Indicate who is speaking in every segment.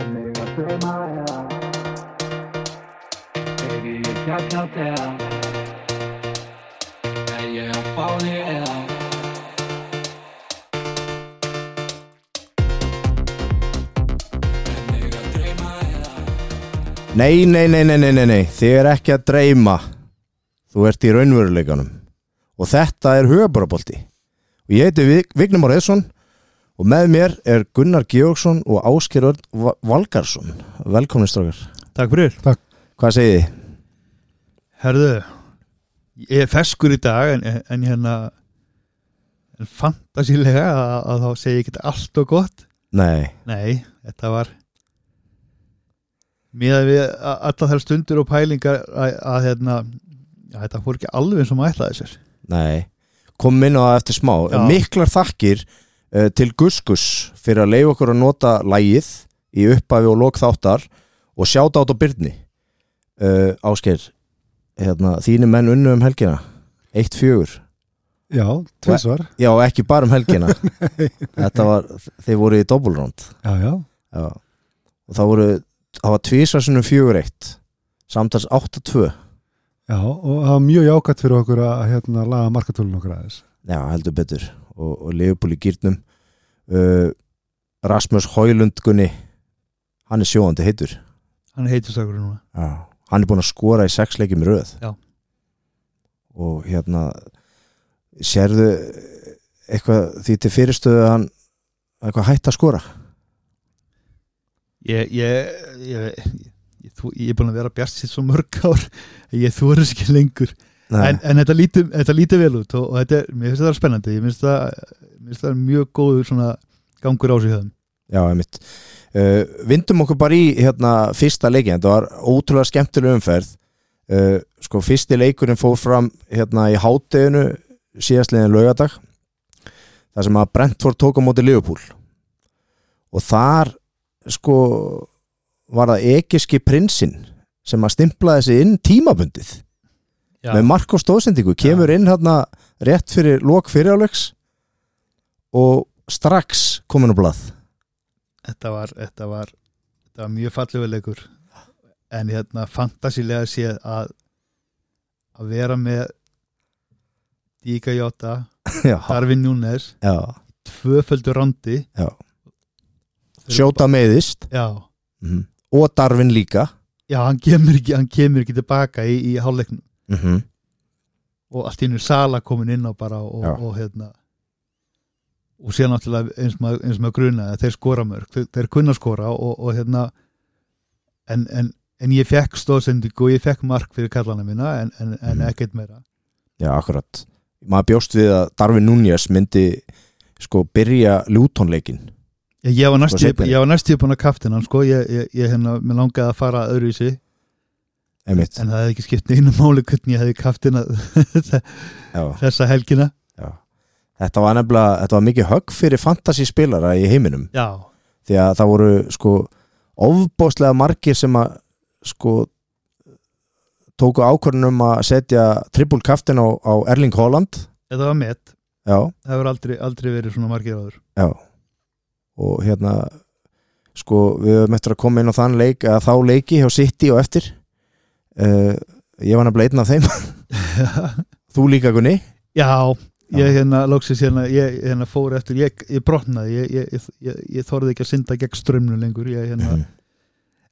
Speaker 1: from my eyes. Baby, you got me down, and you're falling out.
Speaker 2: Nei, nei, nei, nei, nei, nei, nei, þið er ekki að dreyma Þú ert í raunveruleikanum Og þetta er höfbarabolti Og ég heiti Vig- Vignum Áreðsson Og með mér er Gunnar Georgsson og Ásker Örn Va- Valgarðsson Velkomin strákar
Speaker 3: Takk fyrir
Speaker 2: Hvað segið þið?
Speaker 3: Herðu, ég er feskur í dag en, en hérna en fantasílega að, að þá segi ég ekki allt og gott
Speaker 2: Nei,
Speaker 3: Nei, þetta var miðað við a- allar þær stundur og pælingar að, að hérna að þetta fór ekki alveg eins og maður ætlaði sér
Speaker 2: nei Komum inn á það eftir smá
Speaker 3: Já.
Speaker 2: Miklar þakkir uh, til Guskus Fyrir að leiða okkur að nota lægið Í upphafi og lok þáttar Og sjáta át á Byrni uh, Ásker hérna, Þínu menn unnu um helgina Eitt fjögur
Speaker 4: Já, tvisvar
Speaker 2: Já, ekki bara um helgina Þetta var, þeir voru í dobbulrónd
Speaker 4: Já, já,
Speaker 2: Já Og það voru, það var tvísvarsunum fjögur eitt Samtals 8-2
Speaker 4: já og það var mjög jákvæmt fyrir okkur að hérna laga markatölun okkur aðeins
Speaker 2: Já, heldur betur Og, og Leifupúl í gýrnum uh, Rasmus Hólund Gunni Hann er sjóandi heitur
Speaker 3: Hann heitir stakur núna
Speaker 2: Já Hann er búinn að skora í sex leikjum í röð
Speaker 3: Já.
Speaker 2: Og hérna Sérðu eitthvað því til fyrirstöðu að hann eitthvað hætt að skora
Speaker 3: Ég, ég, ég, ég, ég, þú- ég er búin að vera bjart sér svo mörg ár að ég þóra sér ekki lengur
Speaker 2: Nei.
Speaker 3: en, en þetta, lítur, þetta lítur vel út og, og þetta, er- mér finnst þetta spennandi ég finnst það, mér finnst það mjög góður svona gangur á sig það
Speaker 2: Já, einmitt. Uh, vindum okkur bara í hérna, fyrsta leikin, þetta var ótrúlega skemmtileg umferð. Uh, sko, fyrsti leikurinn fór fram hérna, í hátteginu síðastliðin laugadag, þar sem að Brentford tók á móti Liverpool. Og þar sko, var það ekiski prinsinn sem að stimplaði sig inn tímabundið
Speaker 3: Já.
Speaker 2: með Marko stóðsendingu kemur inn hérna rétt fyrir lok fyriráleiks og strax komin á blað
Speaker 3: þetta, var, þetta, var, þetta var mjög fallegur leikur en hérna fantasílega séð að að vera með Díka Jóta,
Speaker 2: Já.
Speaker 3: Darvin Núnes
Speaker 2: Já,
Speaker 3: tvöföldu randi
Speaker 2: Já. sjóta meðist
Speaker 3: já,
Speaker 2: og Darvin líka
Speaker 3: já, hann kemur ekki hann kemur ekki tilbaka í, í hálfleiknum og allt í hennu Sala komin inn á bara og,
Speaker 2: Já.
Speaker 3: og hérna og síðan náttúrulega eins maður, eins maður gruna þeir skora mörg, þeir, þeir kunna skora og, og hérna en, en, en ég fekk stóðsendingu og ég fekk mark fyrir kallana mína en, en, en
Speaker 2: Mhm.
Speaker 3: ekkert meira
Speaker 2: Já, akkurat Maður bjóst við að Darvin Núñez myndi sko byrja Lutonleikin
Speaker 3: ég, ég var
Speaker 2: Og
Speaker 3: næstíð,
Speaker 2: seinni.
Speaker 3: ég var næstíð búin að kaftin hann sko, ég, ég, ég hérna, mér langaði að fara öðru í sig,
Speaker 2: einmitt
Speaker 3: en það hefði ekki skipt einu máli hvernig ég hefði kaftin
Speaker 2: Já,
Speaker 3: þessa helgina
Speaker 2: já. Þetta var nefnilega, þetta var mikið högg fyrir fantasy spilara í heiminum
Speaker 3: já,
Speaker 2: því að það voru sko ofbóðslega margir sem að sko tóku ákvörnum að setja triple kaftin á, á Erling Haaland
Speaker 3: þetta var met
Speaker 2: Já,
Speaker 3: það hefur aldrei, aldrei verið svona margir áður
Speaker 2: Já og hérna sko við höfum eftir að koma inn á þann leik að þá leiki hjá City og eftir uh, ég var nefnilega einn af þeim þú líka Gunni
Speaker 3: Já, ég
Speaker 2: Já.
Speaker 3: hérna loksins hérna, ég hérna fór eftir, ég, ég brotnaði ég, ég, ég, ég, ég þorði ekki að synda gegn strömmnu lengur, ég hérna
Speaker 2: Mhm.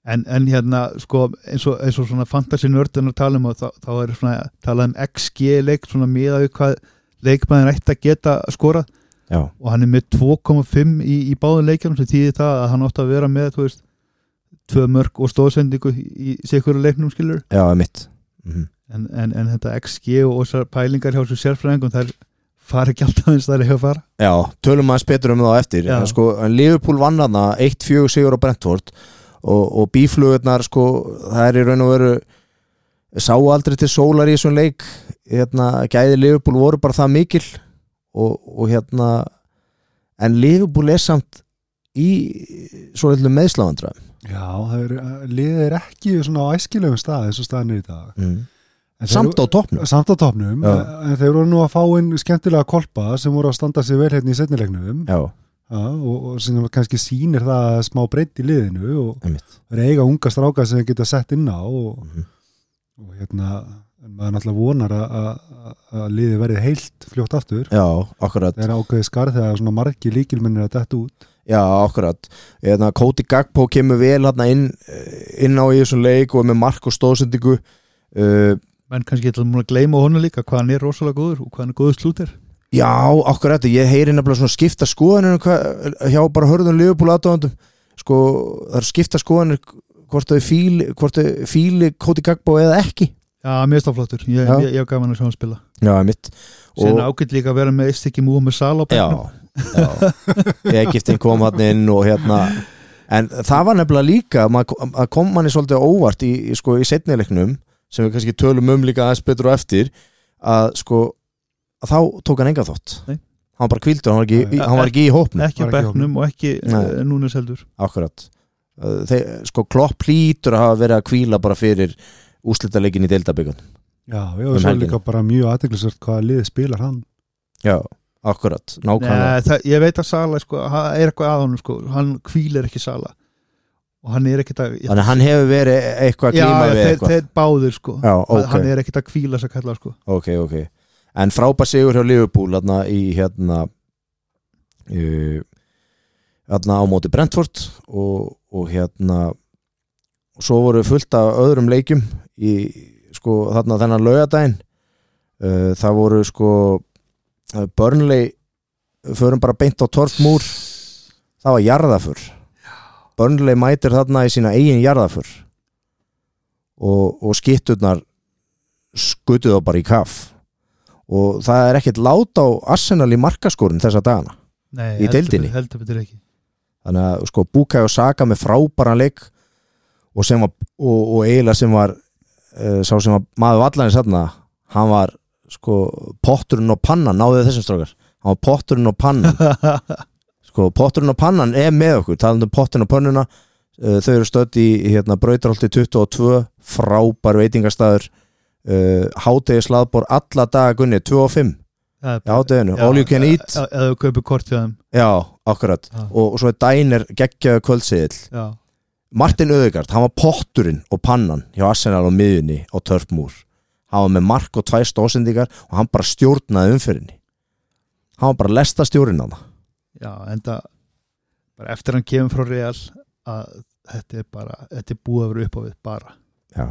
Speaker 3: en, en hérna, sko, eins og, eins og svona fantasy nördin að tala um og þá, þá er svona, talað um XG leik svona miða við hvað leikmaður ætti að geta skorað
Speaker 2: já,
Speaker 3: og hann er með 2,5 í, í báðu leikjum sem þýðir það að hann átti að vera með, þú veist tvö mörg og stóðsendingu í sikuru leiknum skilur
Speaker 2: já, það er mitt mm
Speaker 3: en, en, en þetta XG og þessar pælingar hjá svo sérfræðingum þær fara ekki alltaf eins þær eiga að fara
Speaker 2: já, tölum aðeins betur um það á eftir
Speaker 3: Já.
Speaker 2: en sko, en Liverpool vann hana 1-4 sigur á Brentford og, og bíflugurnar sko, það er í raun og veru sá aldrei til sólar í þessum leik hérna, gæði Liverpool voru bara það mikil og, og hérna en Liverpool er samt í svo eitthvað meðslavandra
Speaker 4: Já, það er, liðið er ekki svona á æskilegum stað eins og staðan er í dag
Speaker 2: mm.
Speaker 4: En þeir-
Speaker 2: samt á toppnum
Speaker 4: Samt á topnum,
Speaker 2: Já.
Speaker 4: en þeir voru nú að fá inn skemmtilega kolpa sem voru að standa sér vel hérna í setnilegnum
Speaker 2: já,
Speaker 4: Já, og, og sem kannski sýnir það að smá breytt í liðinu og
Speaker 2: Einmitt.
Speaker 4: það er eiga unga stráka sem þeir geta sett inn á og,
Speaker 2: Mhm.
Speaker 4: og hérna en maður náttúrulega vonar að- að að- að liðið verið heilt fljótt aftur
Speaker 2: Já, akkurat
Speaker 4: það er ákveðið skarð þegar svona margi líkilmennir að detta út
Speaker 2: Já, akkurat Eðna, Kóti Gagpó kemur vel hérna inn, inn á í þessum leik og er með mark og stóðsendingu uh,
Speaker 3: menn kannski ætla múin að gleyma honum líka hvað hann er rosalega góður og hvað hann er góður slútir
Speaker 2: Já, akkurat Ég heyri nefnilega svona skipta skoðanir um hvað- hjá bara hörðum liðbúl aðdóðandum sko, það er skipta skoðanir hvort þau fíli, hvort þau fíli Kóti Gagpó eða ekki
Speaker 3: Já, mér stað flottur, ég,
Speaker 2: Já.
Speaker 3: ég, ég haf gaman að sjá hann spila
Speaker 2: Já, mitt
Speaker 3: Sen ágætt líka að vera með eitt ekki múið með sal á
Speaker 2: já,
Speaker 3: bekknum.
Speaker 2: já. Egiptin kom hann inn og hérna en það var nefnilega líka maður- að kom manni svolítið á óvart í, í, sko, í setnileiknum sem við kannski tölum um líka aðeins betur og eftir að sko að þá tók hann enga þátt
Speaker 3: Nei.
Speaker 2: hann var bara kvildur, hann var ekki, í-
Speaker 3: Já,
Speaker 2: hann var ekki í hópnum
Speaker 3: ekki á
Speaker 4: Var ekki á
Speaker 3: bekknum og ekki
Speaker 2: Nei.
Speaker 3: eh, núna seldur
Speaker 2: akkurat Uh, Þeir, sko klopp hlýtur að hafa verið að kvíla bara fyrir úslitaleikin í deildabyggun
Speaker 4: Já, já,
Speaker 2: Um
Speaker 4: og svo er
Speaker 2: helgina.
Speaker 4: líka bara mjög aðteglisvert hvaða liðið spilar hann
Speaker 2: já, akkurat, nákvæmlega
Speaker 3: Nei, það, ég veit að Sala sko, hann er eitthvað að honum sko, hann hvílir ekki Sala og hann er ekkit að já,
Speaker 2: þannig að hann hefur verið eitthvað að glíma
Speaker 3: já,
Speaker 2: við
Speaker 3: þeir,
Speaker 2: eitthvað
Speaker 3: þeir báðir sko
Speaker 2: já, ok
Speaker 3: hann er ekkit að hvíla þess að kalla sko
Speaker 2: ok, ok en frábær sigur hjá Liverpool hérna í hérna uh, hérna á móti Brentford og, og hérna og svo voru fullt af öðrum leikjum í sko þarna þennan laugardaginn uh, það voru sko uh, Burnley förum bara beint á torfmúr það var jarðafur Burnley mætir þarna í sína eigin jarðafur og, og skitturnar skutuð á bara í kaf og það er ekkert lát á Arsenal í markaskorun þessa dagana
Speaker 3: Nei,
Speaker 2: Í
Speaker 3: heldur
Speaker 2: deildinni?
Speaker 3: betur- heldur betur ekki
Speaker 2: þannig að sko Bukai og Saka með frábæran leik og sem var og, og eiginlega sem var uh, sá sem var maður vallanir satna hann var sko potturinn og pannan náðu þessum strókar hann var potturinn og pannan sko potturinn og pannan er með okkur talandi um potturinn og pannuna uh, þau eru stödd í hérna Brautarholti 22 frábær veitingastæður uh, hátegi slaðbor alla dagagunni 2 og 5
Speaker 3: Það er
Speaker 2: í
Speaker 3: bara-
Speaker 2: háteginu, all you can
Speaker 3: e-
Speaker 2: eat
Speaker 3: e- eða þú kaupir kort hjá þeim
Speaker 2: já, akkurat
Speaker 3: Já.
Speaker 2: og, og svo er dænir geggjaðu kvöldsiðil
Speaker 3: já.
Speaker 2: Martin Öðegard, hann var potturinn og pannan hjá Arsenal á miðunni á Törfmúr hann var með mark og tvær stóðsendingar og hann bara stjórnaði umfyrinni hann var bara lesta stjórinn hann
Speaker 3: já, enda bara eftir hann kemur frá Real að þetta er bara, þetta er búið að vera upp á við bara
Speaker 2: já.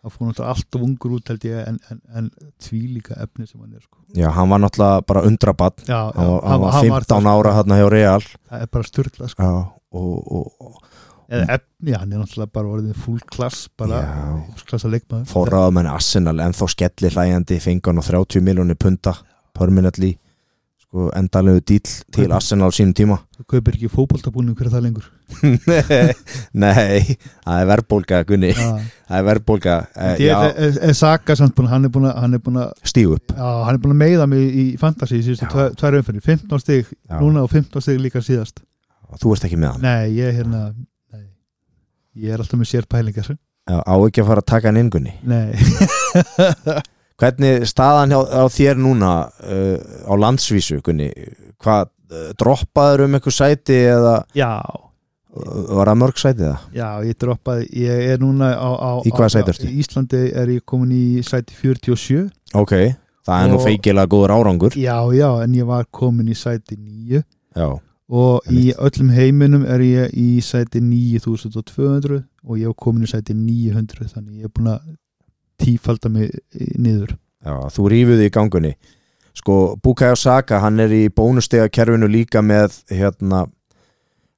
Speaker 3: það fór náttúrulega alltaf ungur út held ég en, en, en tvílíka efni sem hann er sko.
Speaker 2: já, hann var náttúrulega bara undrabann
Speaker 3: já, já,
Speaker 2: hann, var- hann var 15
Speaker 3: það,
Speaker 2: ára hann hjá Real
Speaker 3: sko. það er bara styrla sko.
Speaker 2: já, og, og,
Speaker 3: eða efni, hann er náttúrulega bara orðið full klass bara
Speaker 2: Mm. Já.
Speaker 3: klassa leikmaður
Speaker 2: og forraða menn Arsenal en þá skellir hlæjandi fengan á 30 miljónir punta permanently sko, endalegu dýl til Arsenal á sínum tíma
Speaker 3: það kaupir ekki fótboltabúning fyrir það lengur
Speaker 2: Nei, það er verðbólga Gunni, það er verðbólga eh,
Speaker 3: ég
Speaker 2: já,
Speaker 3: er, er Saka samt búin hann er búin að hann er búin að,
Speaker 2: Stíg upp
Speaker 3: já, hann er búin að meiða mig í fantasy í síðustu
Speaker 2: Já.
Speaker 3: tvær- tvær umferði 15 stig
Speaker 2: Já.
Speaker 3: núna og 15 stig líka síðast
Speaker 2: Þú ert ekki með hann
Speaker 3: nei, ég er hérna nei. ég er alltaf með sér pælingar
Speaker 2: Já, Á ekki að fara að taka hann inn Gunni
Speaker 3: nei,
Speaker 2: Hvernig staðan hjá, á þér núna uh, á landsvísu Gunni Hvað, uh, droppaður um einhver sæti eða eh,
Speaker 3: já
Speaker 2: var það mörg sæti það?
Speaker 3: Já, ég droppaði, ég er núna á, á,
Speaker 2: Í hvaða
Speaker 3: á-
Speaker 2: sæti ertu?
Speaker 3: Í Íslandi er ég komin í sæti 47
Speaker 2: Ok, það er nú
Speaker 3: Og-
Speaker 2: feikilega góður árangur
Speaker 3: Já, já, en ég var komin í sæti 9
Speaker 2: Já,
Speaker 3: og í öllum heiminum er ég í sæti 9200 og ég var komin í sæti 900 þannig ég er búin að tífalda mig eh, niður
Speaker 2: já þú rífuði í gangunni Sko, Bukayo Saka, hann er í bónustegakerfinu líka með hérna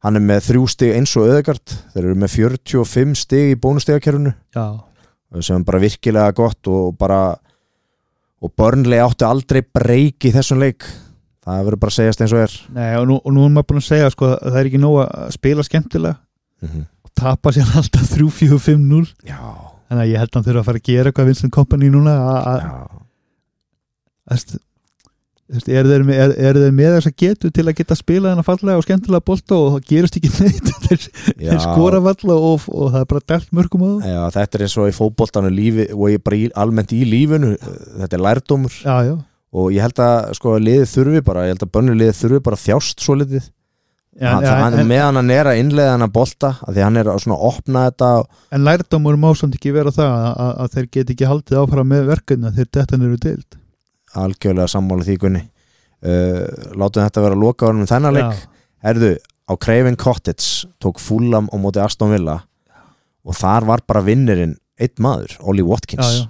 Speaker 2: Hann er með þrjú stig eins og öðegard Þeir eru með 45 stig í bónustegakerfinu
Speaker 3: Já,
Speaker 2: sem er bara virkilega gott og bara og Burnley átti aldrei breyk í þessum leik það verður bara að segjast eins og er
Speaker 3: Nei, og, nú, og nú er maður búin að segja sko, að það er ekki nóg að spila skemmtilega og tapa sér alltaf 3-4-5-0
Speaker 2: já,
Speaker 3: þannig að ég held að hann þurfa að fara að gera eitthvað Vincent Kompany núna að- að
Speaker 2: já,
Speaker 3: Æst, æst, er, þeir, með- er, er þeir með þess að getu til að geta spilað hennar fallega og skemmtilega bolta og það gerist ekki neitt þeir,
Speaker 2: já,
Speaker 3: þeir skora fallega og, og það er bara delt mörgum á það
Speaker 2: já þetta er eins og í fótboltanu lífi og ég bara í, almennt í lífinu þetta er lærdómur
Speaker 3: já, já,
Speaker 2: og ég held að sko liðið þurfi bara, ég held að Burnley liðið þurfi bara að þjást svo litið hann, hann,
Speaker 3: en,
Speaker 2: meðan hann er að innleiða hann að bolta af því hann er að svona opna þetta
Speaker 3: en lærdómur má samt ekki vera það að, að, að þeir get ekki haldið áfram með verkefna þegar þetta eru deild
Speaker 2: algjörlega sammála því gunni uh, látum þetta vera að loka orðum þennan leik
Speaker 3: Já.
Speaker 2: Herðu, á Craven Cottage tók Fulham á móti Aston Villa og þar var bara vinnirinn einn maður, Ollie Watkins
Speaker 3: já, já.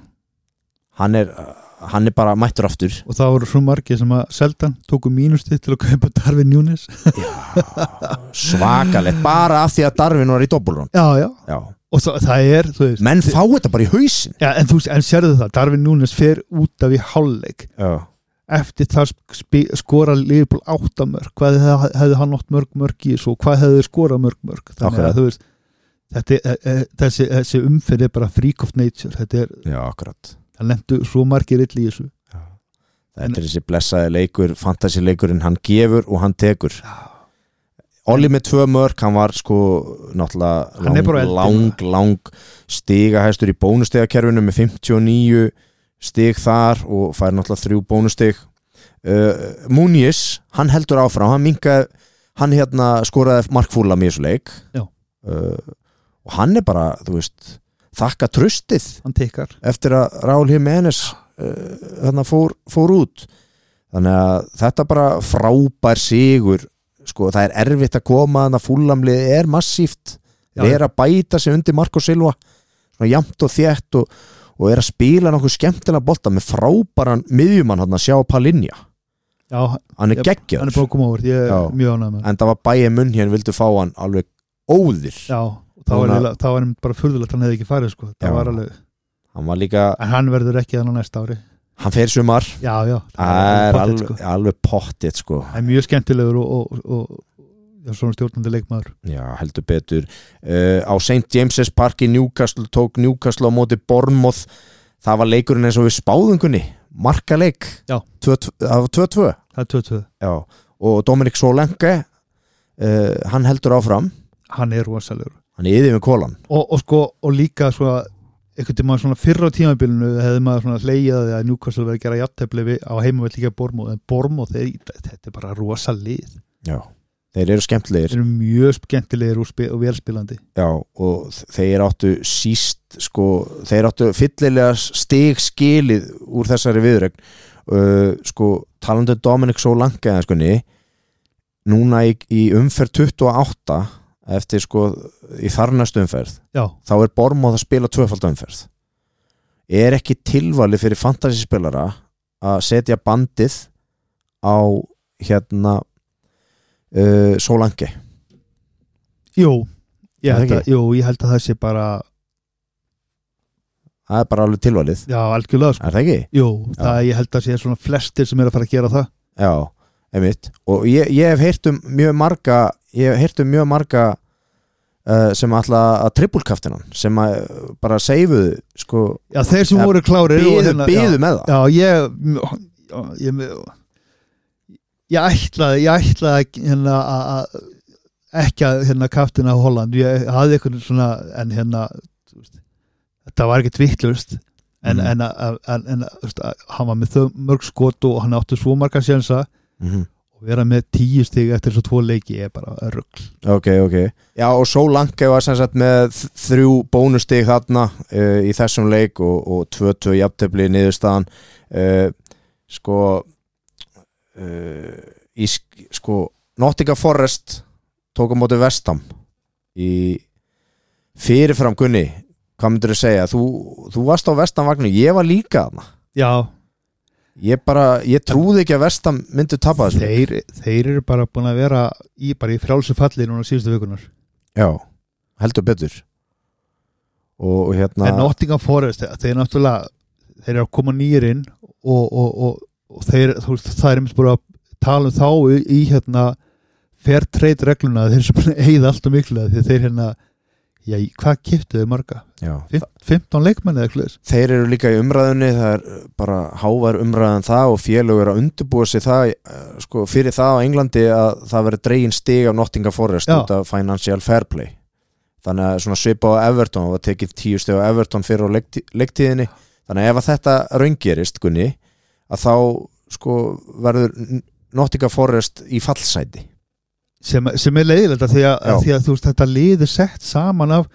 Speaker 2: Hann, er, uh, hann er bara mættur aftur
Speaker 3: og það voru svo margir sem að seldan tóku mínustið til að kaupa Darvin Núnes
Speaker 2: svakalegt, bara af því að Darwin var í dobbulrún
Speaker 3: já, já,
Speaker 2: Já.
Speaker 3: og það, það er þú veist,
Speaker 2: menn fá þetta bara í hausin
Speaker 3: já, en þú veist, en sérðu það Darvin Núnes fer út af í hálfleik
Speaker 2: Já.
Speaker 3: eftir það spi, skora Liverpool áttamörk, hvað hef, hefði hann átt mörg mörg í þessu og hvað hefði skora mörg mörg þannig
Speaker 2: Akkurat.
Speaker 3: að þú veist þetta, er- e, e, þessi, þessi umferð er bara freak of nature þetta er,
Speaker 2: Já, akkurat
Speaker 3: það lendu svo margir ill í þessu
Speaker 2: Þetta er þessi blessaði leikur, fantasileikurinn hann gefur og hann tekur Olli með tvö mörk, hann var sko náttúrulega
Speaker 3: Hann er bara á
Speaker 2: lang,
Speaker 3: eldinum.
Speaker 2: lang, lang stigahæstur í bónustegakerfinu með 59 stig þar og fær náttúrulega þrjú bónusteg uh, Múnis, hann heldur áfram hann minkaði, hann hérna skoraði markfúla mér svo leik
Speaker 3: Já.
Speaker 2: uh, og hann er bara, þú veist þakka trustið
Speaker 3: hann tekkar
Speaker 2: eftir að Raúl Jiménez uh, þarna fór, fór út þannig að þetta bara frábær sigur sko, það er erfitt að koma þannig að fúlamlið er massíft
Speaker 3: Já,
Speaker 2: þeir eru að bæta sig undir Marko Silva svona jamt og þétt og, og er að spila nokkuð skemmtilega bolta með frábæran miðjumann hann að sjá Palinja
Speaker 3: já, hann
Speaker 2: hann er
Speaker 3: Jep,
Speaker 2: geggjör
Speaker 3: er búin að koma over, ég er
Speaker 2: Já.
Speaker 3: mjög ánægð með hann.
Speaker 2: en það var bæja munn hér vildu fá hann alveg óðir
Speaker 3: já, og þá var
Speaker 2: Núna-
Speaker 3: eiginlega- þá var hann bara furðulegt hann hefði ekki farið sko,
Speaker 2: Já.
Speaker 3: það var alveg
Speaker 2: hann var líka,
Speaker 3: en hann verður ekki þannig næsta ári
Speaker 2: hann fer í sumar
Speaker 3: já, já,
Speaker 2: það er
Speaker 3: pottet,
Speaker 2: alveg,
Speaker 3: sko.
Speaker 2: alveg pottitt sko
Speaker 3: Það er mjög skemmtilegur og, og, og, og svona stjórnandi leikmaður
Speaker 2: Já, heldur betur uh, á St. James's Park í Newcastle tók Newcastle á móti Bournemouth það var leikurinn eins og við spáðungunni markaleik
Speaker 3: Já.
Speaker 2: Tvö- tvö- það var 2-2
Speaker 3: það er 22,
Speaker 2: Já. og Dominic Solanke uh, hann heldur áfram
Speaker 3: hann er rosalegur
Speaker 2: hann er yfir með kólan
Speaker 3: og, og sko, og líka svona einhvern tímann svona fyrra á tímabilinu hefði maður svona hleyjað að því að Newcastle verið að gera jattefli við á heimavöld líka Bormóð en Bormóð, er, þetta er bara rosalið
Speaker 2: Já. þeir eru skemmtlegir
Speaker 3: þeir eru mjög skemmtilegir og, spi, og velspilandi
Speaker 2: Já, og þ- þeir áttu síst sko, þeir áttu fyllilega stig skilið úr þessari viðregn uh, sko, talandi um Dominic Solanke eða sko ni núna í, í umferð 28 eftir sko í þarnast umferð,
Speaker 3: já,
Speaker 2: þá er Bormóð að spila tvöfald umferð er ekki tilvali fyrir fantasyspilara að setja bandið á hérna uh, Solanke
Speaker 3: jú ég
Speaker 2: Er það
Speaker 3: held, að, jú, ég held að það sé bara
Speaker 2: það er bara alveg tilvalið,
Speaker 3: já, algjörlega sko
Speaker 2: er það ekki?
Speaker 3: Jú,
Speaker 2: Já.
Speaker 3: það ég held að sé svona flestir sem er að fara að gera það
Speaker 2: Já, einmitt og ég, ég hef heyrt um mjög marga ég hef heyrt um mjög marga uh, sem ætla að trippulkaftinan sem að uh, bara seifuðu sko,
Speaker 3: Já, þeir sem
Speaker 2: Ja,
Speaker 3: voru klárir og
Speaker 2: býðu,
Speaker 3: hérna- já.
Speaker 2: býðu með það
Speaker 3: Já, ég já, ég, ég ætlaði ég ætlaði ekki, hérna að- að- ekki að hérna kaftina á Holland, ég hafði eitthvað svona en hérna þú veist, þetta var ekki tvittlust en,
Speaker 2: Mhm.
Speaker 3: en, að- að- en, en að, þú veist, að hann var með þau mörg skot og hann átti svo marga sjensa
Speaker 2: mm
Speaker 3: og vera með tíu stig eftir svo tvo leiki er bara rugg
Speaker 2: Ok, ok Já, og svo langi var sem sagt með þ- þrjú bónustig þarna uh, í þessum leik og, og 2-2 jafntefli í niðurstaðan uh, sko uh, í sk- sko Nottingham Forest tók á móti Vestam í fyrirfram Gunni hvað myndur þú segja, þú, þú varst á Vestam vagnu, ég var líka þarna
Speaker 3: Já,
Speaker 2: ég bara, ég trúði ekki að Vestam myndi tapa þessu leik.
Speaker 3: þeir, þeir eru bara búin að vera í, bara í frjálsu falli núna síðustu vikunar
Speaker 2: Já, heldur betur og og hérna
Speaker 3: en Nottingham Forest þeir, þeir náttúrulega þeir eru að koma nýjir inn og, og, og, og þeir, þú veist, það er einmitt bara að tala um þá í, í hérna fair trade regluna þeir sem bara eigið allt og miklu því þeir hérna já, í- hvað kiptu þau marga?
Speaker 2: Já.
Speaker 3: Fim- 15 leikmenni eða eitthvað svoleiðis?
Speaker 2: þeir eru líka í umræðunni það er uh, bara hávar umræðan það og félög eru að undubúa sig það uh, sko, fyrir það á Englandi að það verður dregin stig af Nottingham Forest
Speaker 3: Já.
Speaker 2: út af Financial Fair Play þannig að svona svipa á Everton það var tekið tíu stig á Everton fyrir á leikti- leiktíðinni þannig að ef að þetta raungerist Gunni að þá sko verður N- Nottingham Forest í fallsæti
Speaker 3: sem, sem er leiðilegt af því að,
Speaker 2: Já.
Speaker 3: að, því að þú veist, þetta liði sett saman af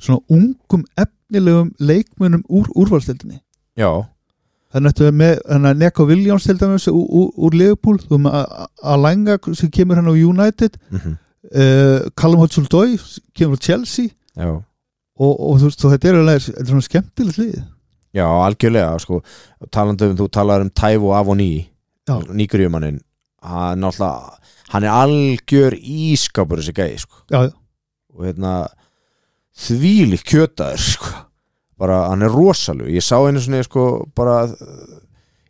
Speaker 3: svona ungum efnilegum leikmunum úr úrvalstildinni
Speaker 2: já,
Speaker 3: þannig að þetta er með þannig að Neko Williams til dæmis úr, úr, úr Liverpool þú erum að, að langa sem kemur hann á United
Speaker 2: mhm,
Speaker 3: uh, Callum Hudson-Doy kemur á Chelsea
Speaker 2: já
Speaker 3: og, og þú veist, og þetta er alveg þetta er svona skemmtilegt lið
Speaker 2: Já, algjörlega, sko talandi um, þú talar um Tævo Avoní
Speaker 3: Já.
Speaker 2: nýgurjumannin hann, er náttúrulega- hann er algjör ískapur þessi gæði, sko
Speaker 3: já,
Speaker 2: og hérna þvílik kjötaður, sko bara, hann er rosalug, ég sá einu svona, sko, bara uh,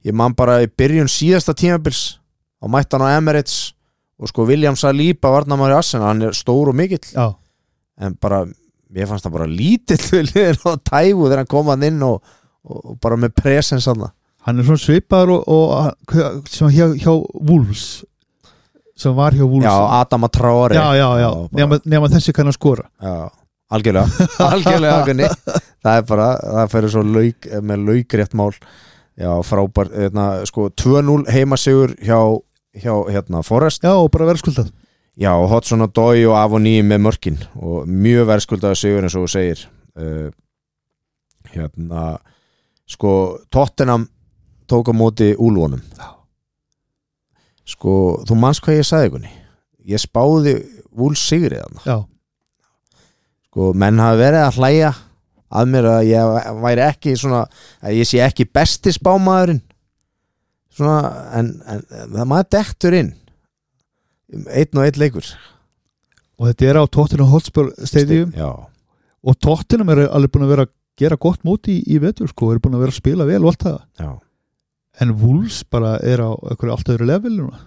Speaker 2: ég man bara í byrjun síðasta tímabils á mættan á Emirates og sko William Saliba varnamari Assena, hann er stór og mikill
Speaker 3: já,
Speaker 2: en bara, ég fannst það bara lítill við liðin á tæfu þegar hann kom hann inn og, og, og bara með presens hann
Speaker 3: hann er svona svipaður og, og hva- sem hjá, hjá Wolves sem var hjá Wolves
Speaker 2: Já, Adama Traore
Speaker 3: já, já, já.
Speaker 2: bara-
Speaker 3: Nema, nema þessi kann að skora
Speaker 2: Já, algjörlega, algjörlega Gunni. það er bara, það fyrir svo lauk, með laukrétt mál já, frábær, hérna, sko 2-0 heimasigur hjá, hjá hérna, Forrest,
Speaker 3: já, og bara verðskuldað
Speaker 2: já, Hodson og Dói og Avoní með mörkin og mjög verðskuldaði sigur eins og þú segir uh, hérna sko, Tottenham tók á móti úlvonum sko, þú manns hvað ég sagði Gunni, ég spáði Vúl Sigrið hann
Speaker 3: já,
Speaker 2: sko, menn hafi verið að hlæja að mér að ég væri ekki svona, að ég sé ekki besti spámaðurinn svona, en, en það maður dektur inn Um einn og einn leikur
Speaker 3: og þetta er á Tottenham Hotspur stadium
Speaker 2: já,
Speaker 3: og Tottenham er alveg búin að vera að gera gott móti í, í vetur sko, er búin að vera að spila vel og allt það
Speaker 2: já.
Speaker 3: en Wolves bara er á einhverju allt öðru level núna.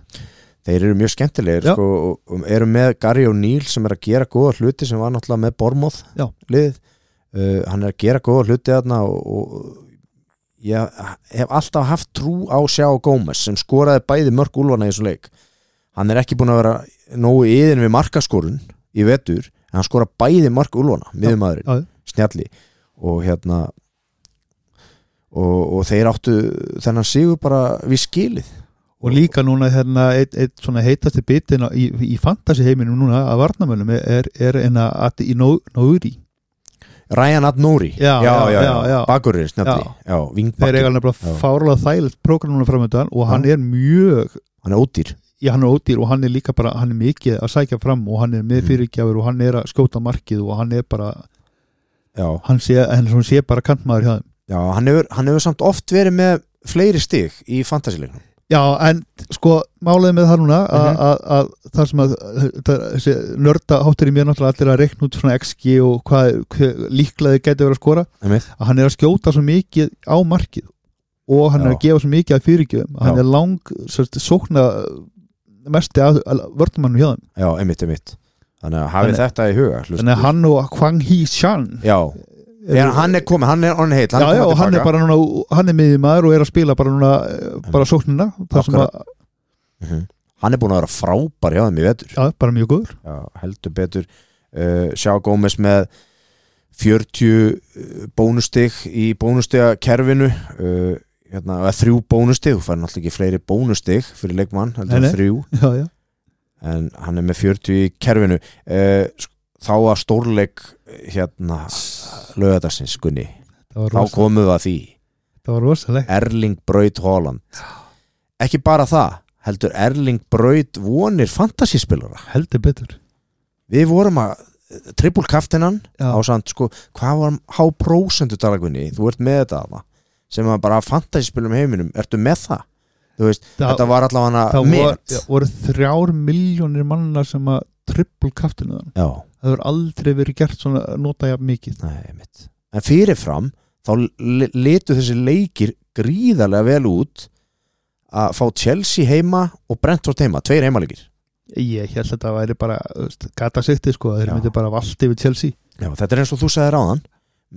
Speaker 2: þeir eru mjög skemmtilegir
Speaker 3: Já.
Speaker 2: sko, og, og eru með Gary og Neil sem er að gera góða hluti sem var náttúrulega með Bormóð
Speaker 3: Já.
Speaker 2: liðið uh, hann er að gera góða hluti þarna og, og ég hef alltaf haft trú á sjá Gómez sem skoraði bæði mörg úlfana í þessum leik hann er ekki búin að vera nógu yðin við markaskorun í vetur en hann skora bæði mörg úlfana miðumæðurinn
Speaker 3: já,
Speaker 2: snjalli og hérna og, og þeir áttu þennan sigur bara við skilið
Speaker 3: og líka núna hérna, eitt, eitt svona heitasti bitin á- í, í fantasy heiminum núna að varnamönnum er, er hérna enna að í nóri
Speaker 2: Ryan Adnori
Speaker 3: Já,
Speaker 2: já,
Speaker 3: já,
Speaker 2: já,
Speaker 3: já, já.
Speaker 2: bakurinn snjalli
Speaker 3: Já.
Speaker 2: já,
Speaker 3: þeir
Speaker 2: vingbakki,
Speaker 3: eiga nefnilega
Speaker 2: Já.
Speaker 3: fárlega þægilegt prógram núna framöndan og hann
Speaker 2: Já.
Speaker 3: er mjög
Speaker 2: hann er ódýr
Speaker 3: já, hann er ódýr og hann er líka bara, hann er mikið að sækja fram og hann er
Speaker 2: Mm.
Speaker 3: með fyrirgjafur og hann er að skjóta markið og hann er bara
Speaker 2: já,
Speaker 3: hann sé, hann svona sé bara kantmaður hjá þeim
Speaker 2: já hann, hefur, hann hefur samt oft verið með fleiri stig í fantasileiknum
Speaker 3: Já, en sko, málið með það núna að
Speaker 2: Mhm.
Speaker 3: mm -hmm. það sem að það, þessi nörda háttur í mér náttúrulega allir að reikna út svona XG og hvað hver, líklega þið gæti verið að skora
Speaker 2: Einmitt.
Speaker 3: að hann er að skjóta svo mikið á markið og hann er
Speaker 2: Já.
Speaker 3: að gefa svo mikið að fyrirgjöfum að hann
Speaker 2: Já.
Speaker 3: er lang sérst, sókna eh, mesti að, að vördumannu hjá þeim
Speaker 2: já, einmitt, einmitt þannig að hafið
Speaker 3: Þannig-
Speaker 2: þetta í huga hlustendur.
Speaker 3: þannig að hann og Hwang Hee Shan
Speaker 2: já, er, hann er komið, hann er on heill hann
Speaker 3: já, já,
Speaker 2: er
Speaker 3: og
Speaker 2: komið
Speaker 3: hann er
Speaker 2: tilbaka
Speaker 3: bara núna, hann er miðið maður og er að spila bara núna, eh, bara sóknina það sem að,
Speaker 2: Akkurat. Mhm. hann er búin að vera frábær hjá þeim í vetur
Speaker 3: já, bara mjög góður
Speaker 2: já, heldur betur uh, Sjá Gómez með 40 bónustig í bónustiga kerfinu uh, hérna, eða þrjú bónustig þú fær náttúrulega ekki fleiri bónustig fyrir leikmann, heldur
Speaker 3: Nei,
Speaker 2: nei,
Speaker 3: nei.
Speaker 2: þrjú
Speaker 3: já, já,
Speaker 2: en hann er með 40 í kerfinu uh, þá að stórleik hérna lögadagsins Gunni,
Speaker 3: það var,
Speaker 2: þá
Speaker 3: rosa,
Speaker 2: komum við að því
Speaker 3: það var rosalegt
Speaker 2: Erling Braut Haaland ekki bara það, heldur Erling Braut vonir fantasíspilara
Speaker 3: heldur betur
Speaker 2: við vorum að eh, trippulkaftinan
Speaker 3: Já.
Speaker 2: á samt sko, hvað var há prósendu talagunni, þú ert með þetta þarna, sem að bara fantasyspilum í heiminum ertu með það, þú veist
Speaker 3: Þa-
Speaker 2: þetta var allavega
Speaker 3: það
Speaker 2: hana
Speaker 3: voru,
Speaker 2: met já,
Speaker 3: voru þrjár miljónir manna sem að trippul kaftinu þann það hefur aldrei verið gert svona nota jafn mikið
Speaker 2: nei, mitt en fyrirfram, þá li- litu þessi leikir gríðarlega vel út að fá Chelsea heima og Brentford heima, tveir heimalegir
Speaker 3: ég held að þetta væri bara þú veist, gata sikti sko, þeir
Speaker 2: Já.
Speaker 3: myndi bara valdi við Chelsea
Speaker 2: já, þetta er eins og þú sagði ráðan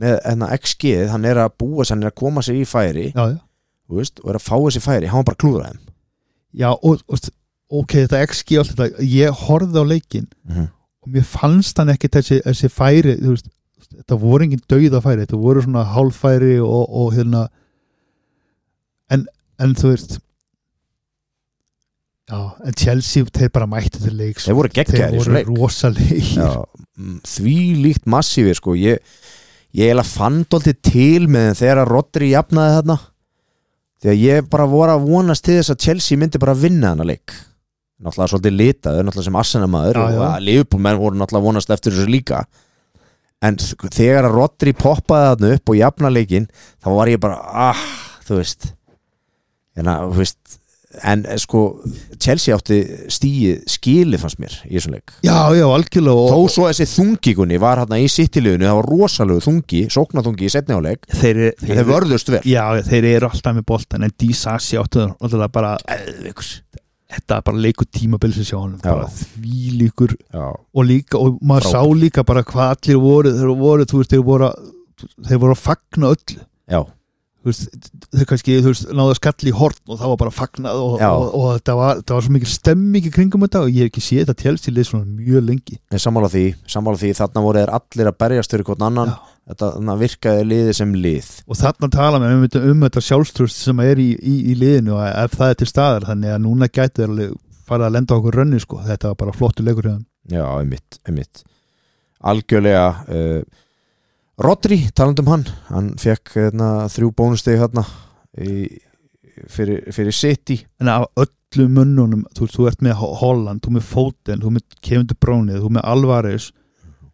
Speaker 2: með enna XG, hann er að búa hann er að koma sér í færi,
Speaker 3: já, já.
Speaker 2: þú veist, og er að fá þessi færi hann var bara að klúðra þeim
Speaker 3: já og, og ok, þetta XG og allt þetta ég horfði á leikin
Speaker 2: Mhm.
Speaker 3: og mér fannst hann ekki þessi, þessi færi þú veist, þetta voru engin dauða færi þetta voru svona hálfæri og, og hérna en, en þú veist Já, en Chelsea, þeir bara mættu til leiks
Speaker 2: þeir voru
Speaker 3: þeir
Speaker 2: geggjaðir í þessu
Speaker 3: voru
Speaker 2: leik
Speaker 3: rosalegir
Speaker 2: Já, mm, því líkt massífir sko ég, ég eiginlega fann dólti til með þeim þegar að Rodri jafnaði þarna því að ég bara voru að vonast til þess að Chelsea myndi bara vinna hana leik náttúrulega svolítið litaður, náttúrulega sem assenamaður
Speaker 3: Já, já.
Speaker 2: og að liðbúmenn voru náttúrulega að vonast eftir þessu líka en sko, þegar að Rodri poppaði þarna upp og jafna leikin þá var ég bara, ah, þú veist en að, þú veist en eh, sko, Chelsea átti stíið skilið fannst mér í þessum leik
Speaker 3: já, já, algjörlega og,
Speaker 2: Þó svo þessi þungikunni var hérna í sittiliðinu það var rosalegu þungi, sóknathungi í setni áleik
Speaker 3: þeir,
Speaker 2: en þeir vörðust vel
Speaker 3: já, já, þeir eru alltaf með boltan en Dísassi áttu þeir alltaf bara þetta er bara leikur tímabil sem sjá honum
Speaker 2: Já.
Speaker 3: bara því líkur
Speaker 2: Já,
Speaker 3: og líka, og maður
Speaker 2: Frábært.
Speaker 3: sá líka bara hvað allir voru, þeir voru, þú veist, þeir voru að, þeir voru að fagna öllu
Speaker 2: já,
Speaker 3: þú veist, þeir kannski, þú veist, náðu að skall í horn og það var bara fagnað og,
Speaker 2: Já.
Speaker 3: og, og, þetta, var, þetta var svo mikil stemming í kringum þetta og ég hef ekki séð þetta tjelsi leið svona mjög lengi
Speaker 2: en sammála því sammála því þarna voru þeir allir að berjast fyrir hvort annan,
Speaker 3: Já.
Speaker 2: þetta þarna virkaði liðið sem lið
Speaker 3: og þarna tala með um, þetta- um þetta sjálfströst sem er í, í, í liðinu og ef það er til staðar þannig að núna gæti þeir alveg fara að lenda á okkur rönni sko, þetta var bara flottu leikur hjá þeim.
Speaker 2: Já, einmitt, einmitt Algjörlega uh, Rodri, talandum hann hann fekk hérna, þrjú bónustegi hérna í, fyrir, fyrir City
Speaker 3: en af öllu mönnunum þú, veist, þú ert með Ho- Holland, þú ert með Foden þú ert með Kevin De Bruyne, þú ert með Alvarez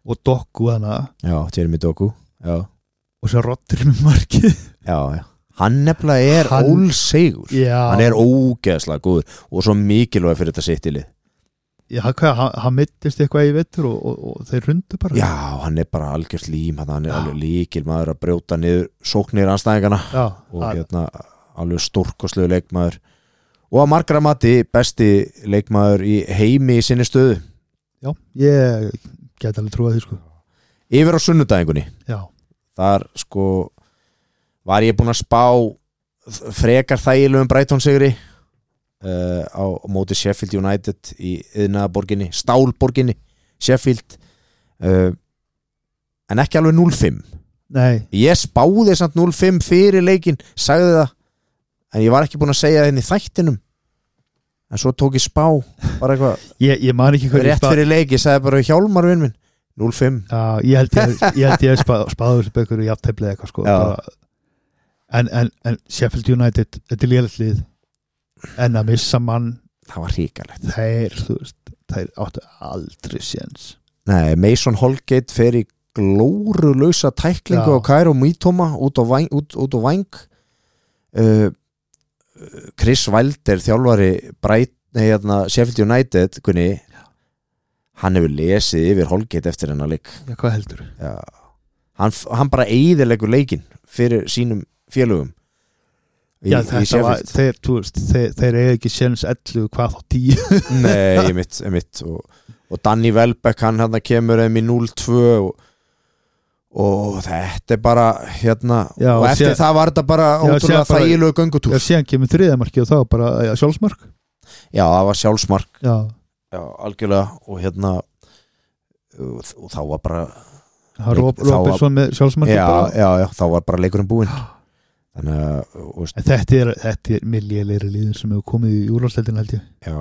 Speaker 3: og Doku þannig
Speaker 2: Já, Jeremy Doku Já,
Speaker 3: og svo Rodri með markið
Speaker 2: já, já Hann nefnilega er
Speaker 3: Hann-
Speaker 2: ólsegur
Speaker 3: Já,
Speaker 2: hann er ógeðslega góður og svo mikilvæg fyrir þetta sittilið
Speaker 3: Já, hvað, hann, hann mittist eitthvað í vettur og, og, og þeir rundu bara
Speaker 2: já, hann er bara algjörst lím hann hann er
Speaker 3: Já.
Speaker 2: alveg líkil maður að brjóta niður sóknir anstæðingana
Speaker 3: Já,
Speaker 2: og
Speaker 3: að,
Speaker 2: hérna alveg stórkoslegu leikmaður og að margra mati besti leikmaður í heimi í sinni stöðu
Speaker 3: já ég get alveg trúið því sko
Speaker 2: yfir á sunnudæðingunni
Speaker 3: Já,
Speaker 2: þar sko var ég búinn að spá frekar þægilegum Brighton sigri uh, á móti Sheffield United í yðnaðaborginni, stálborginni Sheffield uh, en ekki alveg 0-5
Speaker 3: nei,
Speaker 2: ég spáði samt 0-5 fyrir leikin sagði það, en ég var ekki búinn að segja það inn í þættinum en svo tók ég spá, bara eitthvað
Speaker 3: ég, ég man ekki hvað ég
Speaker 2: rétt
Speaker 3: spað-
Speaker 2: fyrir leik, ég sagði bara hjálmarvinn minn 0-5
Speaker 3: Já, ég held ég, ég, held ég spað, spáðu þessu bökur og jafnteflið eitthvað sko
Speaker 2: Já.
Speaker 3: bara, en, en, en Sheffield United þetta er lélægt lið en að missa mann,
Speaker 2: það var hríkalegt
Speaker 3: þeir þú veist, þeir áttu aldrei séns
Speaker 2: Nei, Mason Holgate fer í glórulösa tæklingu
Speaker 3: Já.
Speaker 2: á Kairo Mítoma út á væng, út, út á væng. Uh, Chris Wilder þjálfari Bright, nei, hérna, Sheffield United kunni, hann hefur lesið yfir Holgate eftir hennar leik
Speaker 3: Já, hvað heldur?
Speaker 2: Já. hann, f- hann bara eyðilegur leikin fyrir sínum félögum í,
Speaker 3: Já,
Speaker 2: í
Speaker 3: þetta var,
Speaker 2: Sheffield
Speaker 3: þeir, þú veist, þeir, þeir eiga ekki séns 11 hvað þá 10
Speaker 2: Nei, ég mitt, ég mitt og, og Danny Welbeck, hann hann kemur þeim í 0-2 og, og þetta er bara hérna,
Speaker 3: Já,
Speaker 2: og
Speaker 3: og
Speaker 2: eftir
Speaker 3: sé-
Speaker 2: það var þetta bara
Speaker 3: Já,
Speaker 2: ótrúlega
Speaker 3: sé bara-
Speaker 2: þægilegu
Speaker 3: Já,
Speaker 2: göngutúr
Speaker 3: síðan kemur þriðamarki og þá er bara já, sjálfsmark
Speaker 2: Já, það var sjálfsmark
Speaker 3: Já,
Speaker 2: Já, algjörlega og hérna og, og þá var bara
Speaker 3: það
Speaker 2: Leik-
Speaker 3: Rob,
Speaker 2: þá var-
Speaker 3: Robinson með sjálfsmarki
Speaker 2: já,
Speaker 3: bara.
Speaker 2: já, já, þá var bara leikurinn búinn þannig að, og veist,
Speaker 3: En þetta er, þetta er milljulegri líður sem hefur komið í úrláðsleldin held ég
Speaker 2: já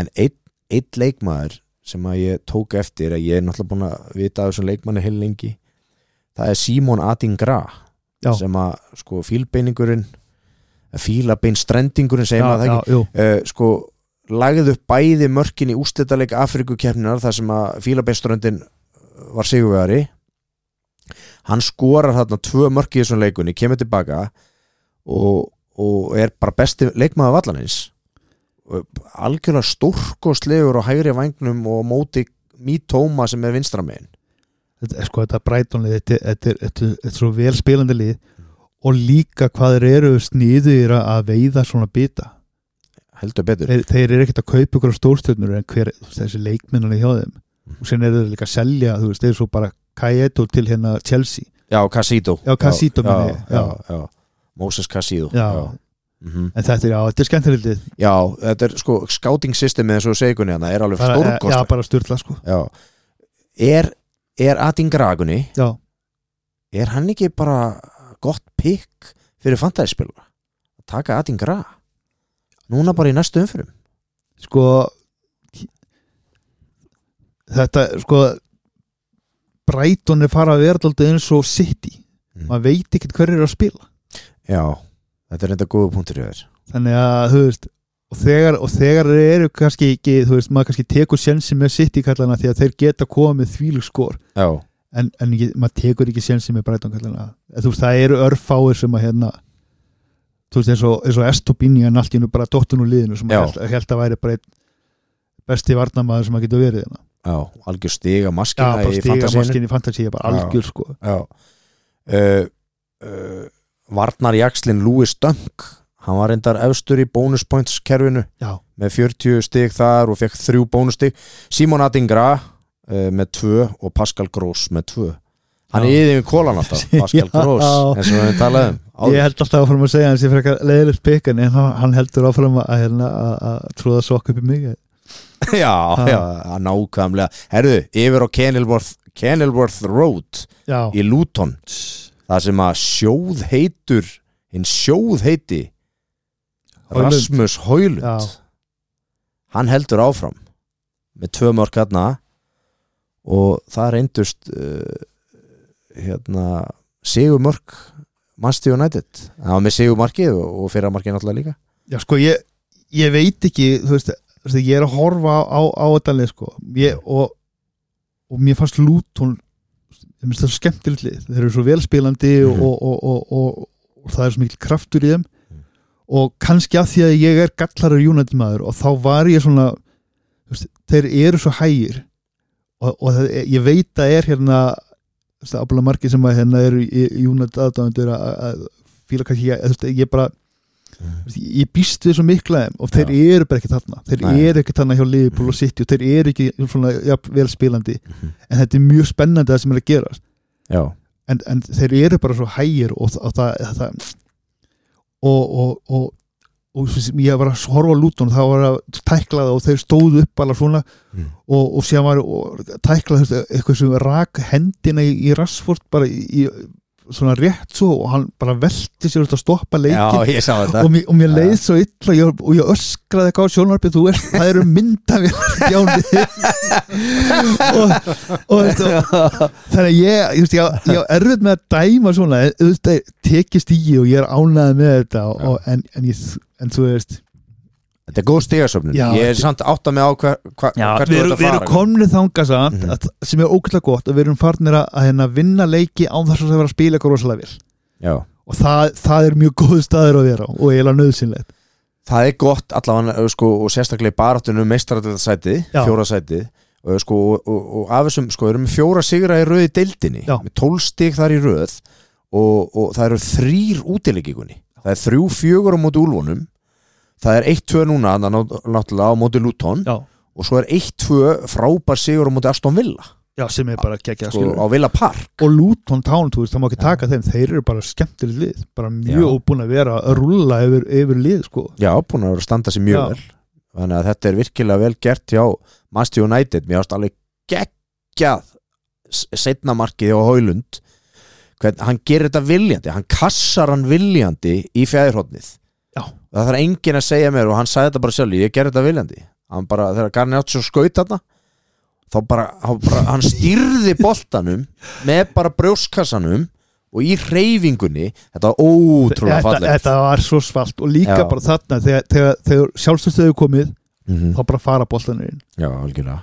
Speaker 2: en einn ein leikmaður sem að ég tók eftir að ég er náttúrulega búin að vita af þessum leikmanni heil lengi það er Simon Adingra
Speaker 3: Já,
Speaker 2: sem að sko fílbeiningurinn fílabeinstrendingurinn
Speaker 3: já,
Speaker 2: segir maður það
Speaker 3: já,
Speaker 2: ekki
Speaker 3: jú,
Speaker 2: uh, sko lagði upp bæði mörkin í ústættaleg Afrikukeppninar þar sem að fílabeinströndin var sigurvegari hann skorar þarna tvö mörk í þessum leikunni, kemur tilbaka og, og er bara besti leikmaður vallanins Og algjörlega stórkostlegur og hægri vangnum og á móti mítóma sem er vinstramein
Speaker 3: þetta, er sko, þetta brætonlið þetta, er- þetta, er- þetta, er- þetta er svo vel spilandi lið og líka hvað þeir eru sniður að veiða svona bita
Speaker 2: heldur betur
Speaker 3: þeir, þeir eru ekkert að kaupa ykkur stórstjörnur en hver þú veist, þessi leikminnarni hjá þeim og sen eru þeir líka að selja, þú veist, þeir eru svo bara Kajeto til hérna Chelsea
Speaker 2: já, Casito
Speaker 3: Já, Casito
Speaker 2: já,
Speaker 3: meina ég,
Speaker 2: já, já, Moses Casito
Speaker 3: Já,
Speaker 2: Mhm.
Speaker 3: en þetta er, já, þetta er skemmtilegt
Speaker 2: Já, þetta er sko scouting systemið eins og segunni hann er alveg
Speaker 3: Já,
Speaker 2: stórkost
Speaker 3: bara styrla, sko
Speaker 2: Já. Er, er Adingragunni
Speaker 3: Já,
Speaker 2: er hann ekki bara gott pikk fyrir fantaðispilur taka Adingra núna bara í næstu umfyrum
Speaker 3: sko þetta sko Brighton er fara að vera alltaf eins og City
Speaker 2: Mm.
Speaker 3: maður veit ekkert hverju er að spila
Speaker 2: já, þetta er enda góða punktur í þér
Speaker 3: þannig að þú veist og þegar, og þegar þeir eru kannski ekki þú veist, maður kannski tekur sjensi með City kallana því að þeir geta komið með þvílug skor
Speaker 2: já,
Speaker 3: en, en ekki, maður tekur ekki sjensi með Brighton kallana þú veist, það eru örfáir sem að hérna þú veist, eins og, eins og Estobini en allt í hennu bara dottun úr liðinu sem
Speaker 2: Já.
Speaker 3: að held, held að væri bara einn besti varnamaður sem að geta verið hérna.
Speaker 2: já, algjör stiga
Speaker 3: Já,
Speaker 2: maskina
Speaker 3: bara
Speaker 2: í
Speaker 3: stiga
Speaker 2: fantasíinu.
Speaker 3: maskinni í fantasíu, bara
Speaker 2: Já.
Speaker 3: algjör sko
Speaker 2: Já uh, uh, Varnarjakslin Louis Dunk hann var reyndar efstur í bónuspoints kerfinu
Speaker 3: Já.
Speaker 2: með 40 stig þar og fekk þrjú bónustig Simon Attingra uh, með 2 og Pascal Gross með 2 hann er
Speaker 3: Já.
Speaker 2: yfir kólan alltaf, Pascal
Speaker 3: Já.
Speaker 2: Gross eins og við höfum talað um áður.
Speaker 3: Ég held alltaf áfram að segja hans ég fyrir eitthvað leiðilegt pikkan en hann hann heldur áfram að, hérna, að, að tróða sokk upp í mig
Speaker 2: já,
Speaker 3: Ha.
Speaker 2: já, já, nákvæmlega herðu, yfir á Kenilworth Kenilworth Road
Speaker 3: Já,
Speaker 2: í Luton það sem að sjóð heitur hinn sjóð heiti
Speaker 3: Højlund.
Speaker 2: Rasmus Høylund
Speaker 3: Já.
Speaker 2: hann heldur áfram með tvö mörg hérna og það reyndust uh, hérna sigur mörg Manchester United það var með sigur markið og, og fyrra markið náttúrulega líka
Speaker 3: já sko ég, ég veit ekki þú veist, þú veist, ég er að horfa á, á, á þetta leið sko ég, og, og mér fannst Lúton ég minnst það svo skemmtilegt lið þeir eru svo velspilandi og,
Speaker 2: Mhm.
Speaker 3: og, og, og, og, og það er svo mikil kraftur í þeim
Speaker 2: Mhm.
Speaker 3: og kannski af því að ég er gallarar United maður og þá var ég svona þú veist, þeir eru svo hægir og, og það, ég veit að er hérna þú veist, ábúinlega margir sem að hérna eru í í United aðdáðandur að að fíla kannski ég, þú veist, ég bara þú veist, ég býst við svo mikla þeim og þeir eru bara ekki þarna þeir
Speaker 2: Nei.
Speaker 3: eru ekki þarna hjá Liverpool og City og þeir eru ekki svona ja, vel spilandi
Speaker 2: Mhm.
Speaker 3: en þetta er mjög spennandi það sem er að gera
Speaker 2: já,
Speaker 3: en, en þeir eru bara svo hægir og, og það, það og, og, og, og, og ég var að horfa á Luton það var að tækla það og þeir stóðu upp alveg svona
Speaker 2: Mm.
Speaker 3: og, og síðan var og, tækla þú veist, eitthvað sem rak hendina í, í Rassford bara í, í svona rétt svo og hann bara velti sér út að stoppa leikin
Speaker 2: já ég sá þetta
Speaker 3: og mér, og mér leið svo illa ég, og ég öskraði eitthvað á sjónvarpið þú veist, það eru myndavélar hjá mér og, og, og, og þannig að ég, ég, veist, ég, ég á erfitt með að dæma svona en, þú veist, það tekist í og ég er ánæði með þetta og, og, en, en, ég, en þú veist
Speaker 2: þetta er góð stigasöfnun,
Speaker 3: Já,
Speaker 2: ég er
Speaker 3: þetta-
Speaker 2: samt átt að með á hva, hva, hvert
Speaker 3: við
Speaker 2: þú ert
Speaker 3: erum,
Speaker 2: að
Speaker 3: við erum
Speaker 2: fara sko.
Speaker 3: komnið þanga samt
Speaker 2: Mhm.
Speaker 3: að, sem er ógætlega gott og við erum farnir að, að hérna, vinna leiki án þess að það vera að spila eitthvað rosalega vel
Speaker 2: já
Speaker 3: og það, það er mjög góð staður að vera á og eiginlega nöðsynlegt
Speaker 2: það er gott allavega ö, sko, og sérstaklega í um baráttunum meistararættasæti
Speaker 3: Já.
Speaker 2: fjórasæti og, sko, og, og, og af þessum sko erum við fjóra sigra í röði deildinni
Speaker 3: Já.
Speaker 2: með tólstig þar í röð og, og það eru þrýr útilegikunni það er þrjú fjögur á móti úlfunum það er eitt tvö núna þarna ná- náttúrulega á móti Luton
Speaker 3: já,
Speaker 2: og svo er eitt tvö frábær sigur á móti Aston Villa
Speaker 3: já sem er bara geggja
Speaker 2: sko, á Villa Park
Speaker 3: og Luton Town, þú veist, það má ekki taka þeim þeir eru bara skemmtileg lið, bara
Speaker 2: Já.
Speaker 3: mjög búin að vera að rúlla yfir, yfir lið sko.
Speaker 2: Já, búin að vera að standa sér mjög
Speaker 3: Já.
Speaker 2: vel þannig að þetta er virkilega vel gert hjá Manchester United, mér ást alveg geggjað setna markið hjá Haulund Hvern, hann gerir þetta viljandi, hann kassar hann viljandi í fjæðirhóttnið
Speaker 3: Já.
Speaker 2: það þarf enginn að segja mér og hann sagði þetta bara sjálf, ég gerir þetta viljandi hann bara, þegar Garni átt svo skaut þarna þá bara, hann, bara, hann stýrði boltanum með bara brjóskassanum og í reyfingunni þetta var ótrúlega
Speaker 3: þetta,
Speaker 2: fallegt
Speaker 3: þetta var svo svalt og líka
Speaker 2: Já.
Speaker 3: bara þarna þegar, þegar, þegar sjálfstöðstöðu komið
Speaker 2: Mhm.
Speaker 3: þá bara fara boltanir inn
Speaker 2: Já, algjörlega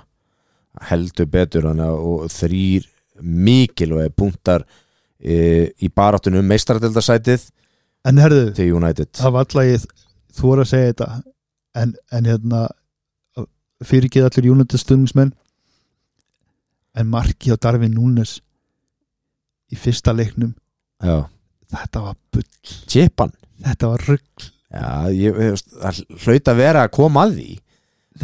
Speaker 2: heldur betur hann og þrýr mikilvæg punktar e, í baráttunum meistaradeldasætið
Speaker 3: en herðu,
Speaker 2: til United
Speaker 3: það var alltaf ég þú voru að segja þetta en, en hérna fyrirgeð allir United stundismenn en markið á Darvin Núnes í fyrsta leiknum
Speaker 2: Já,
Speaker 3: þetta var bull,
Speaker 2: Tjepan
Speaker 3: þetta var rugg
Speaker 2: Já, ég, ég, veist, það hlaut að vera að koma að því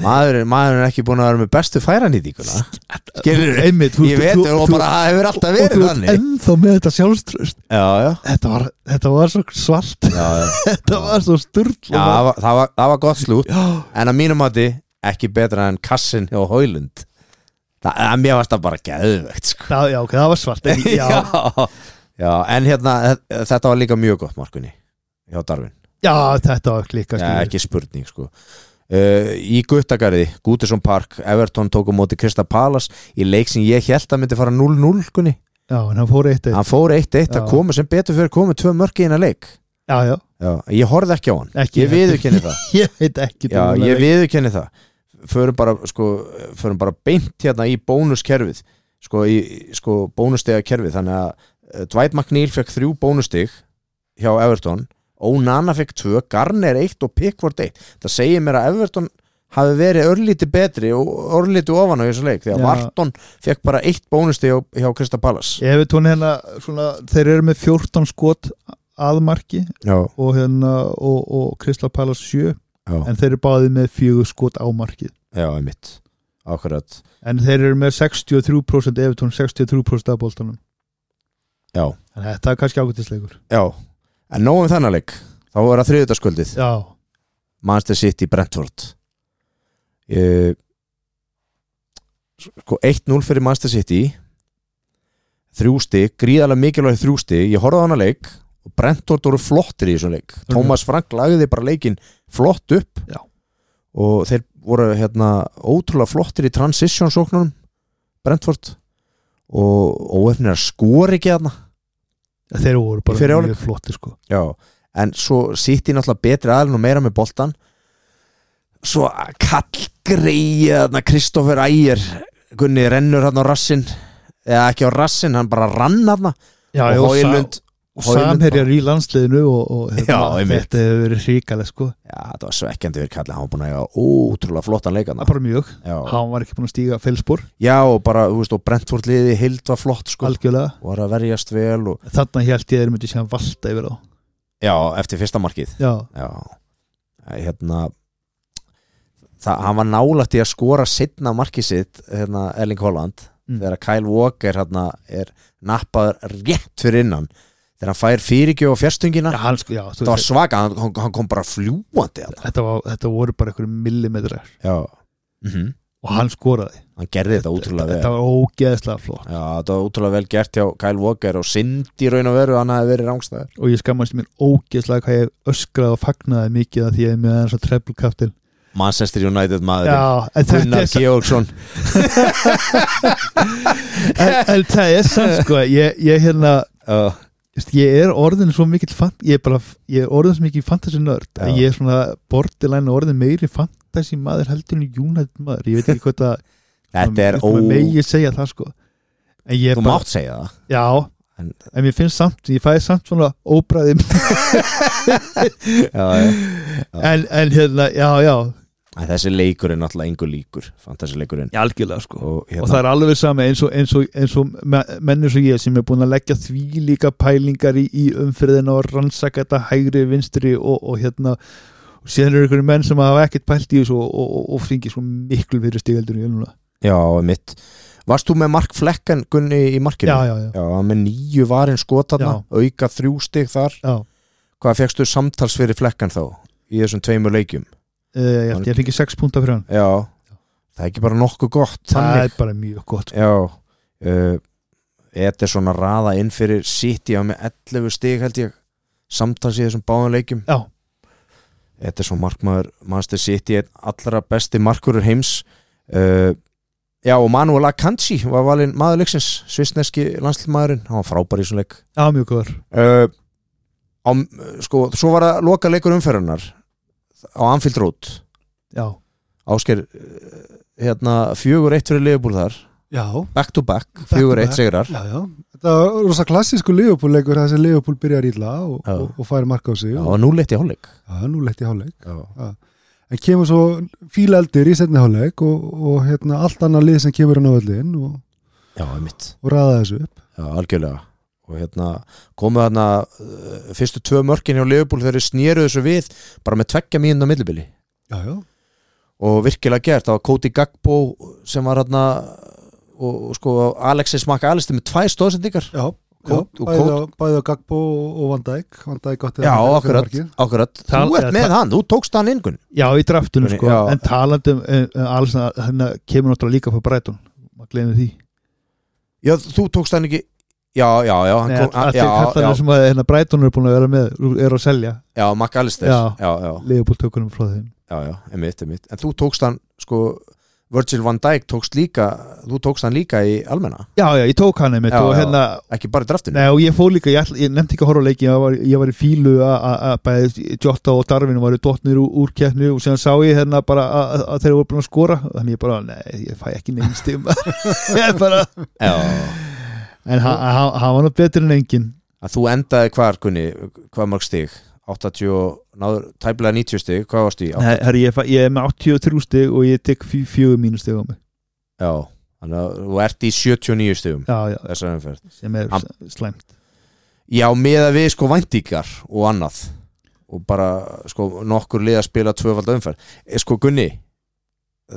Speaker 2: maður, maður er ekki búin að vera með bestu færanýtinguna Skilur,
Speaker 3: einmitt, þú-
Speaker 2: ég veit
Speaker 3: þú-
Speaker 2: og
Speaker 3: þú-
Speaker 2: bara það hefur alltaf
Speaker 3: og þú
Speaker 2: verið
Speaker 3: ert
Speaker 2: þannig
Speaker 3: ennþá með þetta sjálfströst
Speaker 2: Já, já,
Speaker 3: þetta var, þetta var svo svart
Speaker 2: já, já.
Speaker 3: þetta var svo sturl
Speaker 2: já það, var, það, var, það var gott slútt
Speaker 3: já,
Speaker 2: en að mínum mati ekki betra en kassin og Hóilund það, að mér varst það bara geðvegt sko
Speaker 3: það, já, ok, það var svart en, já, já,
Speaker 2: já. já, en hérna þe- þetta var líka mjög gott markunni hjá Darvin,
Speaker 3: þetta var klika
Speaker 2: já,
Speaker 3: skilur.
Speaker 2: ekki spurning sko. Uh, í Guttagarði, Gútisson Park Everton tók á móti Krista Palas í leik sem ég held að myndi fara 0-0 kunni.
Speaker 3: já, en hann fór eitt eitt
Speaker 2: hann fór 1-1, það
Speaker 3: Já.
Speaker 2: komu sem betur fyrir komu tvö mörki í eina leik
Speaker 3: já, já,
Speaker 2: já, ég horfði ekki á hann,
Speaker 3: Ekki
Speaker 2: ég
Speaker 3: heldur.
Speaker 2: viðurkenni það
Speaker 3: ég veit ekki
Speaker 2: já, ég viðurkenni það förum bara, sko, förum bara beint hérna í bónuskerfið sko, í, í- sko bónustega kerfið þannig að eh, Dwight McNeil fekk þrjú bónustig hjá Everton Onana fekk tvö, Garner eitt og Pickford eitt það segir mér að Everton hafi verið örlíti betri og örlíti ofan á þessu leik því að
Speaker 3: Já.
Speaker 2: Varton fekk bara eitt bónustig hjá, hjá Krista Pallas
Speaker 3: ég veit hún hérna svona, þeir eru með 14 skot aðmarki
Speaker 2: já,
Speaker 3: og hérna og, og Kristla Palace 7
Speaker 2: já,
Speaker 3: en þeir eru báðið með fjögur skot ámarkið
Speaker 2: já, einmitt akkurat,
Speaker 3: en þeir eru með 63% Evertón 63% af boltanum
Speaker 2: já,
Speaker 3: en þetta er kannski ágættisleikur
Speaker 2: já en nóg um þennan leik, þá er það þriðutaskvöldið
Speaker 3: já,
Speaker 2: Manchester City Brentford uh, sko 1-0 fyrir Manchester City þrjú stig, gríðarlega mikilvæg þrjú stig, ég horfði á hana leik og Brentford voru flottir í þessum leik
Speaker 3: Mhm.
Speaker 2: Thomas Frank lagði bara leikinn flott upp
Speaker 3: Já.
Speaker 2: og þeir voru hérna ótrúlega flottir í transition sóknunum Brentford og óefnir að skori ekki þarna
Speaker 3: þeir voru
Speaker 2: Í fyrri
Speaker 3: bara
Speaker 2: hálfleik?
Speaker 3: mjög flotti sko
Speaker 2: Já, en svo sitt ég náttúrulega betri aðlun og meira með boltan svo kallgreiða þarna Kristoffer Ægir Gunni rennur hann á rassin eða ekki á rassin, hann bara rann hann
Speaker 3: já,
Speaker 2: og
Speaker 3: og,
Speaker 2: Hóilund
Speaker 3: og samherjar í landsliðinu og, og hérna,
Speaker 2: Já, einmitt.
Speaker 3: þetta hefur verið hríkalið sko
Speaker 2: Já, þetta var svekkjandi fyrir kallið, hann var búin að eiga ótrúlega flottan leik
Speaker 3: það
Speaker 2: þarna.
Speaker 3: er bara mjög,
Speaker 2: Já.
Speaker 3: hann var ekki búin að stíga felsbúr,
Speaker 2: Já, og bara, þú veist, og Brentford liði hild var flott, sko,
Speaker 3: algjörlega
Speaker 2: var að verjast vel og...
Speaker 3: þarna held ég þeir myndi séðan valda yfir á
Speaker 2: Já, eftir fyrsta markið
Speaker 3: já,
Speaker 2: Já, Æ, hérna það, hann var nálægt í að skora sittna markið sitt, hérna Erling Holland
Speaker 3: Mm.
Speaker 2: þegar Kyle Walker hérna er nappaður rétt fyrir innan þegar hann fær fyrirgjöf á fjärstungina
Speaker 3: já, hann, sko, já þú
Speaker 2: það var
Speaker 3: veist,
Speaker 2: svaka, hann, hann- hann kom bara fljúandi hérna.
Speaker 3: þetta, var, þetta voru bara einhverjum millimetrar
Speaker 2: Já mm
Speaker 3: og hann skoraði
Speaker 2: Hann gerði þetta útrúlega vel
Speaker 3: þetta var ógeðslega flott
Speaker 2: Já, þetta var útrúlega vel gert hjá Kyle Walker og syndi í raun og veru, hann hafði verið rángstæður
Speaker 3: og ég skammast mér ógeðslega hvað ég öskraði og fagnaði mikið að því að ég er með aðeins að treble kaftin
Speaker 2: Manchester United maður
Speaker 3: já, en þetta
Speaker 2: Gunnar
Speaker 3: er
Speaker 2: Georgsson
Speaker 3: en, en það er sann sko ég, ég hérna
Speaker 2: uh,
Speaker 3: Just, ég er orðin svo mikill fan, ég, er bara, ég er orðin svo mikill fantasy nörd
Speaker 2: Já.
Speaker 3: að ég er svona bortilæna orðin meiri fantasy maður heldur en United maður ég veit ekki hvað það
Speaker 2: Þetta er ó...
Speaker 3: megi segja það sko en ég
Speaker 2: Þú
Speaker 3: bara,
Speaker 2: mátt segja það
Speaker 3: já en,
Speaker 2: En-
Speaker 3: ég finnst samt, ég fæði samt svona óbræði
Speaker 2: já, já.
Speaker 3: en, en hérna, já, já,
Speaker 2: En þessi leikur er náttúrulega engu líkur Fantasy leikurinn
Speaker 3: já algjörlega sko og,
Speaker 2: og, hérna,
Speaker 3: það er alveg sami eins og, eins og, eins og me- menn eins og ég sem er búin að leggja því líka pælingar í, í umfyrðin og rannsaka þetta hægri, vinstri og, og hérna og síðan eru einhverju menn sem hafa ekkert pælt í þessu og, og, og, og fengi svo miklu fyrir stigaldur í önuna
Speaker 2: Já, mitt Varst þú með Mark Flecken Gunni í markinu?
Speaker 3: já, já, já,
Speaker 2: Já, hann með nýju varinn skotarna Auka þrjú stig þar
Speaker 3: já.
Speaker 2: Hvað fegstu samtals fyrir Flecken þá? Í þessum tveimur leikjum
Speaker 3: Uh, ég, held ég fengi 6 púnta fyrir hann
Speaker 2: Já, það er ekki bara nokkuð gott
Speaker 3: það
Speaker 2: Þannig
Speaker 3: er bara mjög gott sko.
Speaker 2: Já uh, Þetta er svona raða inn fyrir City á með 11 stig held ég Samtals í þessum báðum leikjum
Speaker 3: já,
Speaker 2: Þetta er svo markmaður Manchester City er allra besti markurur heims uh, Já og Manuel Akanji var valinn maður leiksins svissneski landslmaðurinn hann var frábær í svona leik
Speaker 3: já, mjög góður
Speaker 2: uh, á, sko, Svo var það loka leikur umferðunar á Anfield Road
Speaker 3: já,
Speaker 2: Ásker uh, hérna, fjögur eitt fyrir Liverpool þar
Speaker 4: Já,
Speaker 2: back to back,
Speaker 4: to
Speaker 2: fjögur eitt
Speaker 4: back.
Speaker 2: sigrar
Speaker 4: já, já. Þetta var rosa klassísku Leopold leikur þar sem Leopold byrjar ítla og,
Speaker 2: Já.
Speaker 4: og, og fær marka á sig
Speaker 2: Já,
Speaker 4: og
Speaker 2: og nú leitt í hálfleik
Speaker 4: já, nú leitt í hálfleik. En kemur svo fíla eldir í setni hálfleik og, og hérna allt annað lið sem kemur hann á öllin og,
Speaker 2: Já, mitt
Speaker 4: og ræða þessu upp.
Speaker 2: Já, algjörlega og hérna komu þarna uh, fyrstu tvö mörkin hjá Leopold þegar þeir snýru þessu við bara með tveggja mínuna millibili
Speaker 4: Já, já.
Speaker 2: og virkilega gert, það var Cody Gagbo sem var hérna og, og sko Alexis Mac Alistair með tvær stóðsendingar
Speaker 4: Já,
Speaker 2: Kót-
Speaker 4: já,
Speaker 2: og
Speaker 4: bæði,
Speaker 2: kót.
Speaker 4: á, bæði á Gagbo og, og Van Dijk Van Dijk átti
Speaker 2: Já,
Speaker 4: að-
Speaker 2: akkurat,
Speaker 4: markið.
Speaker 2: akkurat.
Speaker 3: Það-
Speaker 2: Þú ert með hann, þú tókst hann ingun
Speaker 3: já, í draftunum sko
Speaker 2: Já.
Speaker 3: en talandi um, um, um alls hérna kemur náttúrulega líka fyrir Breitun maður glemir því
Speaker 2: Já, þú tókst hann ekki já, já, já, hann
Speaker 3: Nei,
Speaker 2: kom, hann,
Speaker 3: allir
Speaker 2: já, já,
Speaker 3: kallarnir sem að hérna Brighton er búin að vera með er að selja
Speaker 2: já, McAllister já,
Speaker 3: Já.
Speaker 2: já,
Speaker 3: Leifbúl tökunum frá þeim
Speaker 2: já, já, einmitt, einmitt en þú tókst hann, sko Virgil van Dijk tókst líka þú tókst hann líka í almenna,
Speaker 3: Já, já, ég tók hann einmitt
Speaker 2: Já,
Speaker 3: og
Speaker 2: já.
Speaker 3: hérna
Speaker 2: ekki bara í draftinu
Speaker 3: Nei, og ég fór líka, ég, ætla, ég nefndi ekki að horfa á leikin ég var, ég var í fílu að- að að bæði Jota og Darvin varu dottnir úr, úr keppni og síðan sá ég hérna bara að, að- að þeir voru búin að skora þannig ég bara, nei, ég fæ ekki neinn stíma ég er bara
Speaker 2: já,
Speaker 3: en hann ha, ha, ha var nú betur en engin
Speaker 2: að þú endaði hvar, Gunni, hvað mörg stig 80, og- náður, tæplega 90 stig hvað varst í? Já,
Speaker 3: Her, ég, fæ- ég er með 83 stig og ég tek fjö- fjögur mínustig á mig
Speaker 2: já þannig að þú ert í 79 stigum
Speaker 3: já, já,
Speaker 2: þessar umferð
Speaker 3: sem er
Speaker 2: Hann-
Speaker 3: slæmt
Speaker 2: Já, með að við sko væntingar og annað og bara sko nokkur lið að spila tvöfald umferð e, sko Gunni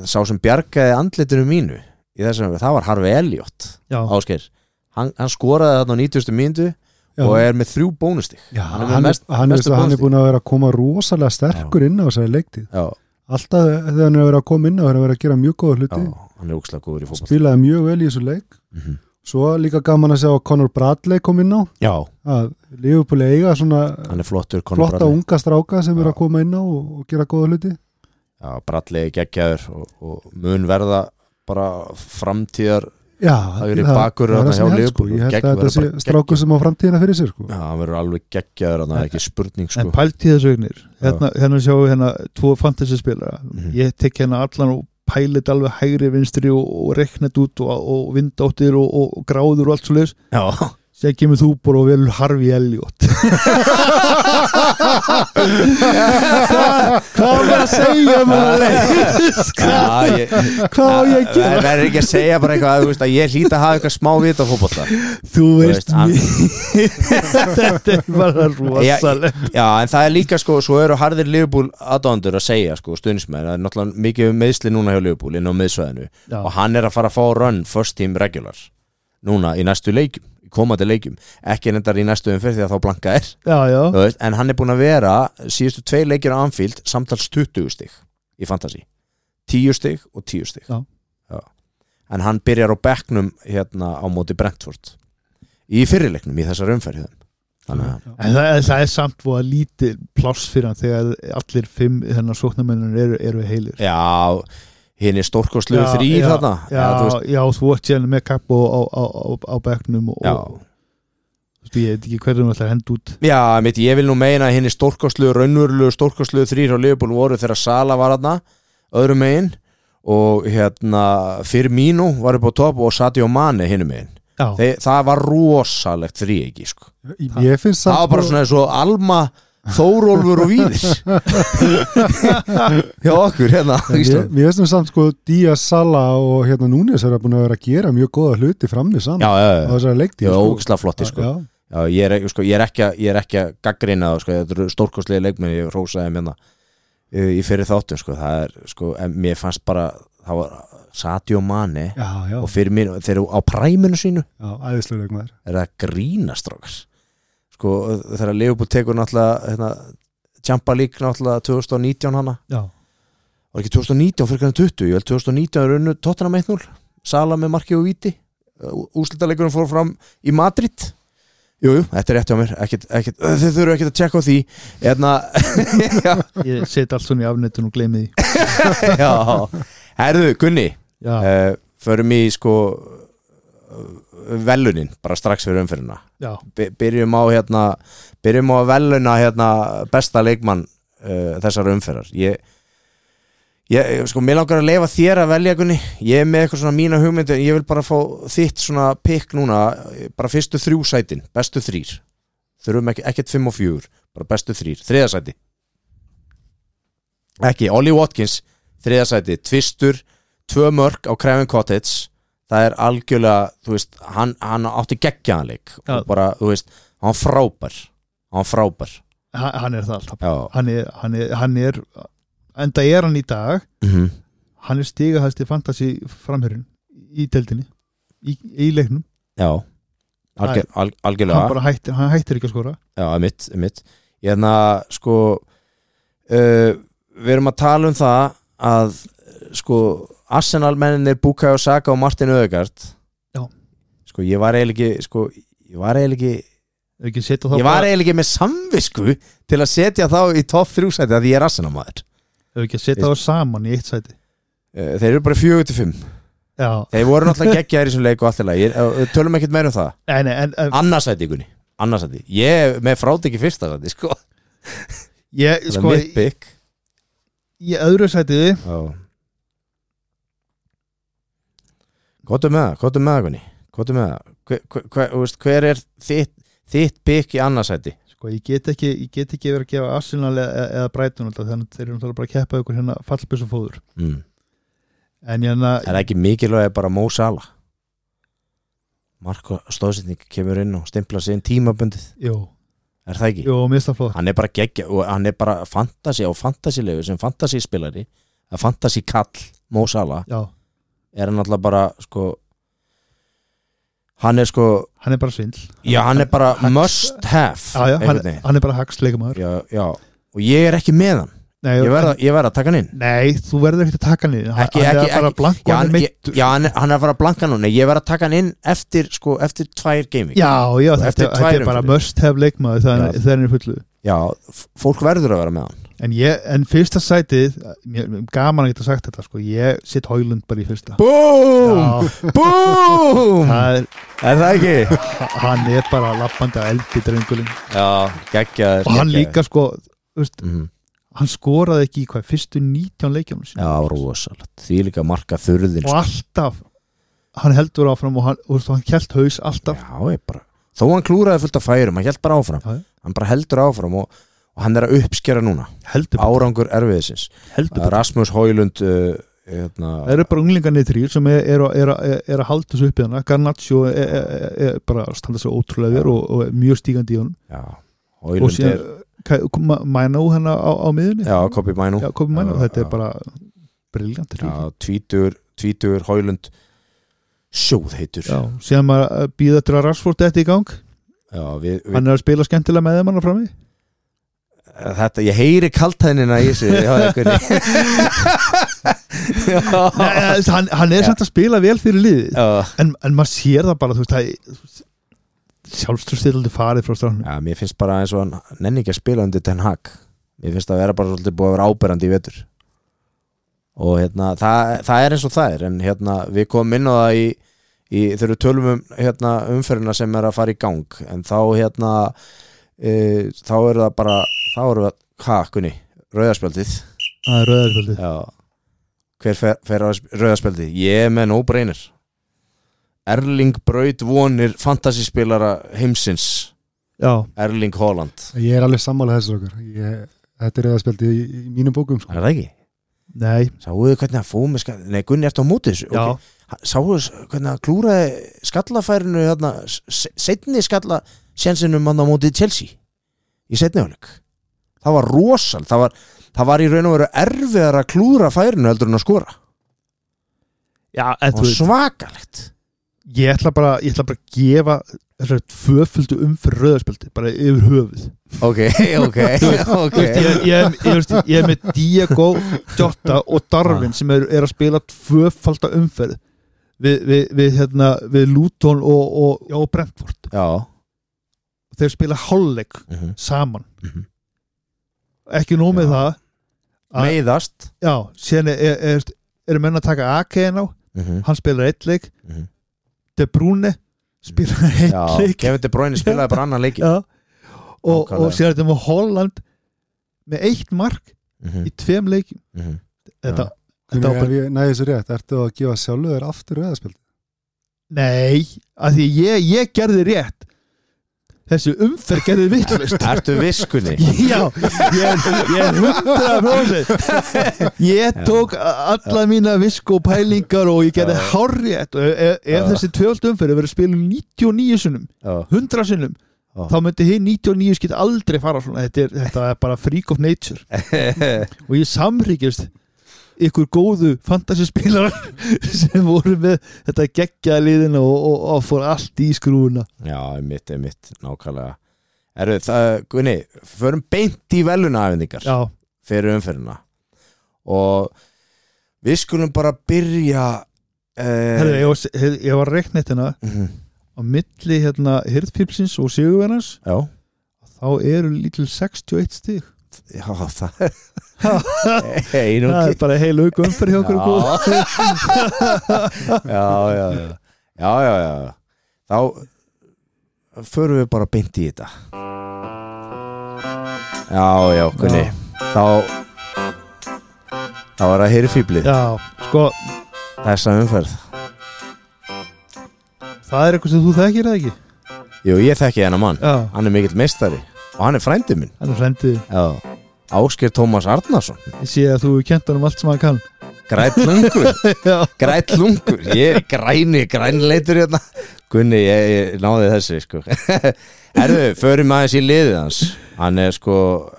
Speaker 2: sá sem bjargaði andlitinu mínu í þessum umferð, það var Harfi Elliot
Speaker 3: já,
Speaker 2: Ásgeir, hann, hann skoraði þarna á 90. mínútu
Speaker 4: Já.
Speaker 2: og er með þrjú bónustig
Speaker 4: Já,
Speaker 2: Hann er með
Speaker 4: hann,
Speaker 2: mest-
Speaker 4: mest, hann,
Speaker 2: mestu
Speaker 4: mestu hann er
Speaker 2: bónustig.
Speaker 4: búin að vera að koma rosalega sterkur inn á þessari leiktið
Speaker 2: Já,
Speaker 4: alltaf þegar hann er verið að koma inn á hann er verið að gera mjög góða
Speaker 2: já,
Speaker 4: hluti
Speaker 2: hann er úkslega góður í fótball
Speaker 4: spilaði mjög vel í þessu leik
Speaker 2: Mhm.
Speaker 4: svo líka gaman að sjá að Conor Bradley kom inn á
Speaker 2: Já,
Speaker 4: að Liverpool eiga svona
Speaker 2: hann er flottur Conor
Speaker 4: flotta
Speaker 2: Bradley.
Speaker 4: unga stráka sem
Speaker 2: Já.
Speaker 4: eru að koma inn á og, og gera góða hluti
Speaker 2: Já, brallegi geggjaður og, og mun verða bara framtíðar
Speaker 4: Já,
Speaker 2: Það er í bakur
Speaker 4: það
Speaker 2: þarna
Speaker 4: er það sem
Speaker 2: hjá
Speaker 4: ég held sko,
Speaker 2: Liverpool.
Speaker 4: ég held
Speaker 2: Gegn
Speaker 4: að þetta
Speaker 2: verður
Speaker 4: sé
Speaker 2: bara
Speaker 4: strákur sem á framtíðina fyrir sér sko.
Speaker 2: Já, hann verður alveg geggjaður hann ekki spurning sko
Speaker 3: en pælt í þessu eignir hérna, hérna sjáum við hérna tvo fantasy spilara
Speaker 2: Mhm.
Speaker 3: ég tek hérna allan og pælit alveg hægri vinstri og, og reknat út og, og vindáttir og, og, og gráður og allt svo leis
Speaker 2: Já,
Speaker 3: segja kemur þú bara og velur Harfi Elliot hvað var það að segja um maður
Speaker 2: Já, ég,
Speaker 3: Hvað á ég að gera?
Speaker 2: Það verður ekki að segja bara eitthvað þú veist, að ég hlýta að hafa eitthvað smá vita á fótbolta
Speaker 3: þú
Speaker 2: Þú
Speaker 3: veist
Speaker 2: að-
Speaker 3: mér þetta er bara rosaleg
Speaker 2: Já, en það er líka sko, svo eru harðir Liverpool aðdóndur að segja sko, stundismenn, það er náttúrulega mikið um meðsli núna hjá Liverpool inn á miðsvæðinu
Speaker 3: Já.
Speaker 2: og hann er að fara að fá run first team regular núna í næstu leikjum, í komandi leikjum ekki nendar í næstu umferð því að þá blanka er
Speaker 3: já, já,
Speaker 2: Þú veist, en hann er búin að vera síðustu tvei leikir á Anfield samtals 20 stig í Fantasí 10 stig og 10 stig
Speaker 3: Já.
Speaker 2: Já. en hann byrjar á bekknum hérna á móti Brentford í fyrirleiknum í þessar umferð hjá þeim. þannig að
Speaker 3: En það, það er samt og að lítið pláss fyrir hann þegar allir fimm þennan sóknarmennin eru, eru heilir
Speaker 2: já, hinn er stórkostlegu
Speaker 3: Já,
Speaker 2: þrýr
Speaker 3: já,
Speaker 2: þarna
Speaker 3: já,
Speaker 2: þú veist,
Speaker 3: já, þú ert síðan með kapp og, á, á, á, á bekknum og,
Speaker 2: já.
Speaker 3: og þú veist, ég veit ekki hvernig þú ætlar að henda út
Speaker 2: já mitt, ég vil nú meina að hinn er stórkostlegu raunverulegu stórkostlegu þrýr á Liverpool voru þegar Sala var þarna öðrum megin og hérna Firmino var upp á topp og Sadio Mane hinnum megin
Speaker 3: já,
Speaker 2: Þe, það var rosalegt þrý ekki sko.
Speaker 4: ég
Speaker 2: það
Speaker 4: finnst
Speaker 2: var
Speaker 4: samt sko-
Speaker 2: bara svona eins og Alma Þórólfur og Víðis hjá okkur hérna á
Speaker 4: Mér
Speaker 2: Íslandi.
Speaker 4: mér finnst nú samt sko Díaz Sala og hérna Núnes er að búin að vera að gera mjög góða hluti frammi saman
Speaker 2: já, já, já,
Speaker 4: á þessari leikti
Speaker 2: já, ógislega flotti sko.
Speaker 4: já,
Speaker 2: Já, ég, er, ekki- sko, ég er ekki að- ég er ekki að gaggrina það sko. þetta eru stórkostlega leikmenn ég rósaði þeim hérna uh, í fyrir þáttum sko. það er, sko, en mér fannst bara það var Sadio Mane
Speaker 4: já, já,
Speaker 2: og fyrir mín, þeir eru á præminu sínu
Speaker 4: já æðislega leikmaður
Speaker 2: er það grínastrákar sko þegar Leopold tekur náttúrulega hérna, Champa League náttúrulega 2019 hana
Speaker 3: já,
Speaker 2: var ekki 2019 fyrir kannar 20 ég held 2019 er unnu Tottenham 1-0 Sala með marki og viti úslitaleikurinn fór fram í Madrid jújú, jú, þetta er rétt hjá mér ekkit, ekkit, þið þurfum ekkert að tjekka á því hérna, já,
Speaker 3: ég set allt svona í afnettun og gleymi því
Speaker 2: já herðu, Gunni
Speaker 3: já,
Speaker 2: uh, förum í sko eh, velunin, bara strax fyrir umferðina
Speaker 3: já,
Speaker 2: by- byrjum á hérna byrjum á að veluna hérna besta leikmann uh, þessar umferðar ég, ég sko, mér langar að leifa þér að velja Gunni ég er með eitthvað svona mína hugmyndu en ég vil bara fá þitt svona pikk núna eh, bara fyrstu þrjú sætin, bestu þrýr þurfum ekki, ekkert fimm og fjúr bara bestu þrýr, þriðasæti ekki, Ollie Watkins þriðasæti, tvistur tvö mörg á Craven Cottage það er algjörlega, þú veist hann, hann átti geggjaðanleik
Speaker 3: Já.
Speaker 2: og bara, þú veist, hann var frábær hann var frábær
Speaker 3: hann hann er það alltaf
Speaker 2: já,
Speaker 3: hann er, hann er, hann er enda er hann í dag
Speaker 2: mm
Speaker 3: hann er stigahæsti fantasy framherjun í deldinni í, í leiknum,
Speaker 2: já. Algjör, al, algjörlega
Speaker 3: hann bara hættir hann hættir ekki að skora
Speaker 2: Já, mitt, mitt. Ég þannig að sko uh, við erum að tala um það að eh, sko Arsenal menninir Bukai og Saka og Martin Öðegard
Speaker 3: Já.
Speaker 2: Sko ég var eiginlega ekki sko ég var eiginlega ekki
Speaker 3: Ef ekki setja þá
Speaker 2: ég var
Speaker 3: bara,
Speaker 2: eiginlega ekki með samvisku til að setja þá í topp þrjúsæti að ég er rassina maður
Speaker 3: ef ekki setja þá saman í eitt sæti
Speaker 2: Eh, þeir eru bara 4-5
Speaker 3: já,
Speaker 2: þeir voru náttúrulega geggjaðir í þessum leik og allt í lagi Ég- eh, tölum ekkert meira um það
Speaker 3: en, en, en
Speaker 2: annarsæti ykkurni annarsæti ég er með frátt ekki fyrsta sæti sko
Speaker 3: ég,
Speaker 2: það er
Speaker 3: sko,
Speaker 2: mitt bygg
Speaker 3: í öðru sætiði
Speaker 2: gottum með um það gottum með það ykkurni gottum með það hver, hver, hver, þú veist, hver er þitt, þitt bygg í annarsæti
Speaker 3: sko, ég get ekki, ég get ekki verið að gefa Arsenal eða, eða Brighton alltaf, þannig að þeir eru náttúrulega bara að keppa ykkur hérna fallbissu fóður
Speaker 2: mm.
Speaker 3: en hérna,
Speaker 2: er það ekki mikilvæg bara Mó Sala Marko stóðsýtning kemur inn og stimpla sig inn tímabundið
Speaker 3: jú,
Speaker 2: er það ekki?
Speaker 3: jú, mista flott
Speaker 2: hann er bara geggja og hann er bara fantasi og fantasilegu sem fantasyspilari að fantasikall Mó Sala
Speaker 3: já,
Speaker 2: er hann alltaf bara sko hann er sko
Speaker 3: hann er bara svindl
Speaker 2: já hann er bara
Speaker 3: Hann-
Speaker 2: must have
Speaker 3: já, já, hann,
Speaker 2: einhvern veginn.
Speaker 3: hann er bara hagst leikumæður
Speaker 2: já, já og ég er ekki með hann ég verð, að- ég verð að taka hann inn
Speaker 3: Nei, þú verður ekkert að taka hann inn
Speaker 2: Ekki-
Speaker 3: Hann
Speaker 2: ekki-
Speaker 3: er bara
Speaker 2: ekki-
Speaker 3: blank og
Speaker 2: já
Speaker 3: hann
Speaker 2: hann,
Speaker 3: er
Speaker 2: ég,
Speaker 3: meittur
Speaker 2: já, hann, er- hann er að fara að blanka núna ég verð að taka hann inn eftir sko eftir tvær gaming
Speaker 3: Já, já,
Speaker 2: Og
Speaker 3: þetta
Speaker 2: eftir
Speaker 3: þetta
Speaker 2: tvær
Speaker 3: er bara
Speaker 2: umferðir.
Speaker 3: must have leikmaður
Speaker 2: Já.
Speaker 3: þegar hann er fullu
Speaker 2: já f- fólk verður að vera með hann
Speaker 3: en, ég, en fyrsta sætið mér, mér- gaman að geta sagt þetta sko ég sitt Hólund bara í fyrsta
Speaker 2: BOOM
Speaker 3: Já,
Speaker 2: BOOM
Speaker 3: það er,
Speaker 2: er það ekki?
Speaker 3: hann er bara lappandi að eldi drengulinn
Speaker 2: já geggjaður
Speaker 3: og hann líka sko
Speaker 2: mm.
Speaker 3: hann skoraði ekki í hvað, fyrstu 19 leikjum
Speaker 2: Já, rosalegt, því líka marka sko. þurðin
Speaker 3: og alltaf hann heldur áfram og hann, og, og hann kjælt haus alltaf
Speaker 2: Já, ég bara Þó hann klúraði fullt af færum, hann held bara áfram
Speaker 3: Já, já.
Speaker 2: Hann bara heldur áfram og, og hann er að uppskera núna
Speaker 3: heldur, bara,
Speaker 2: Árangur erfiðisins
Speaker 3: heldur bara.
Speaker 2: Rasmus Hóilund uh, hérna,
Speaker 3: það eru bara unglingarnir þrýr sem er, er, er, er, er að halda þessu uppið hana Garnaccio er, er, er, er bara að standa sér ótrúlega verið og, og er mjög stígandi í honum
Speaker 2: Já,
Speaker 3: og
Speaker 2: Hóilund er
Speaker 3: síðan mæna úr hennar hérna á, á miðunni
Speaker 2: Já, Kobi Mænú
Speaker 3: já, komið mæna,
Speaker 2: Já, já.
Speaker 3: þetta er bara briljant
Speaker 2: Já, tvítur, tvítur Hóilund Sjóð heitur
Speaker 3: já, síðan maður býða til að Rashford þetta í gang,
Speaker 2: Já, við, við,
Speaker 3: hann er að spila skemmtilega með þeim hann frammi
Speaker 2: Þetta, ég heyri kaltæðinina í sig Já, einhvernig
Speaker 3: Nei,
Speaker 2: Já,
Speaker 3: eh, hann, hann er
Speaker 2: Já.
Speaker 3: samt að spila vel fyrir liðið
Speaker 2: já
Speaker 3: en, en maður sér það bara þú veist, það sjálfströðstildi farið frá strafnum
Speaker 2: Já, mér finnst bara eins og hann nenni ekki að spila undir Ten Hag Mér finnst að vera bara svolítið búið að vera áberandi í vetur Og hérna, það, það er eins og það er En hérna, við komum inn á það í, í Þegar við tölum um hérna, umferðina sem er að fara í gang En þá hérna e, Þá eru það bara Þá eru það, hvað, Gunni, rauðarspjaldið
Speaker 3: það er rauðarfjöldið
Speaker 2: Já Hver fer, fer á rauðarspjaldið? Ég er með no-brainer Erling Braut vonir fantasyspilara heimsins
Speaker 3: já,
Speaker 2: Erling Haaland
Speaker 4: Ég er alveg sammála þessu okkur ég, Þetta er eða spjaldi í, í mínum bókum sko.
Speaker 2: Er það ekki?
Speaker 3: nei,
Speaker 2: Sáuðu hvernig að fómi skall... Nei, Gunni, ertu á móti þessu?
Speaker 3: já
Speaker 2: Ok. Ha- Sáuðu s- hvernig að klúraði skallafærinu hérna, setni skalla sjensinum mann á móti Chelsea í setni hálfleik Það var rosal, það var, það var í raun og veru erfiðar að klúra færinu heldur en að skora
Speaker 3: já, en
Speaker 2: Það
Speaker 3: þú
Speaker 2: var
Speaker 3: veist
Speaker 2: svakalegt
Speaker 3: ég ætla bara, ég ætla bara að gefa þessari tvöföldu umfyrir rauðarspjöldi bara yfir höfuð
Speaker 2: Ok, ok, ok
Speaker 3: ég, ég, ég, ég, veist, ég er með Diego Jota og Darwin sem er, er að spila tvöfalda umferð við, við, við, hérna, við Luton og, og, og Brentford
Speaker 2: Já
Speaker 3: þeir spila hálfleik
Speaker 2: mm -hmm.
Speaker 3: saman
Speaker 2: Mhm.
Speaker 3: ekki nóg með
Speaker 2: Já.
Speaker 3: það
Speaker 2: Ah.
Speaker 3: að,
Speaker 2: Meiðast
Speaker 3: já, síðan er, er, er, eru menn að taka AK en á
Speaker 2: mm -hmm.
Speaker 3: hann spilar eitt leik
Speaker 2: Mm -hmm.
Speaker 3: De Bruyne spilar eitt
Speaker 2: Mm. Já,
Speaker 3: leik
Speaker 2: Kevin De Bruyne spilaði bara annan leiki
Speaker 3: já, og,
Speaker 2: Nákvæmlega.
Speaker 3: og síðan er þetta með Holland með eitt mark
Speaker 2: mm -hmm.
Speaker 3: í tveim leikum
Speaker 2: mm -hmm.
Speaker 3: þetta, þetta var
Speaker 4: Hvernig
Speaker 3: bara
Speaker 4: er ég næði þessu rétt? Ertu að gefa sjálfu þér aftur eða spjaldi?
Speaker 3: Nei, af því ég, ég gerði rétt Þessi umferð gerði vittlust
Speaker 2: Ertu viskunni?
Speaker 3: Já, ég ég er hundra prósent Ég tók a- alla mína visk og pælingar og ég gerði
Speaker 2: Já.
Speaker 3: hárrétt og ef, ef
Speaker 2: Já.
Speaker 3: þessi tvöld umferð verið spilum 99 sunnum,
Speaker 2: Já,
Speaker 3: 100 sunnum
Speaker 2: Já.
Speaker 3: þá myndi hinn 99 skilt aldrei fara svona þetta er, þetta er bara freak of nature og ég samríkist ykkur góðu fantasyspilarar sem voru með þetta geggjaða liðina og, og, og fór allt í skrúna
Speaker 2: Já, einmitt, einmitt, nákvæmlega Erðu, það, Gunni, förum beint í velunafendingar
Speaker 3: Já,
Speaker 2: fyrir umferðina og við skulum bara byrja uh,
Speaker 3: herri, ég, var, ég var reiknettina
Speaker 2: Mhm.
Speaker 3: hérna. á á milli hérna hirðpipsins og sigurverðans
Speaker 2: já,
Speaker 3: þá eru lítil 61 stig
Speaker 2: já það einum
Speaker 3: það er bara heil auku umferð hjá okkur góð
Speaker 2: já, já, já já, já, já þá förum við bara beint í þetta já, já, kunni þá þá er að heyri fýblið
Speaker 3: já, sko,
Speaker 2: þessa umferð
Speaker 3: það er eitthvað sem þú þekkir eða ekki
Speaker 2: jú, ég þekki hennar mann,
Speaker 3: já,
Speaker 2: hann er mikill meistari og hann er frændi minn
Speaker 3: hann er frendið
Speaker 2: já. Ásker Tómas Arnason
Speaker 3: ég sé að þú kent hann um allt sem hann kann
Speaker 2: grætlungur,
Speaker 3: já,
Speaker 2: grætlungur ég er græni, grænleitur hérna Gunni, ég, ég náði þessi sko. Herðu, förum aðeins í liðið hans hann er sko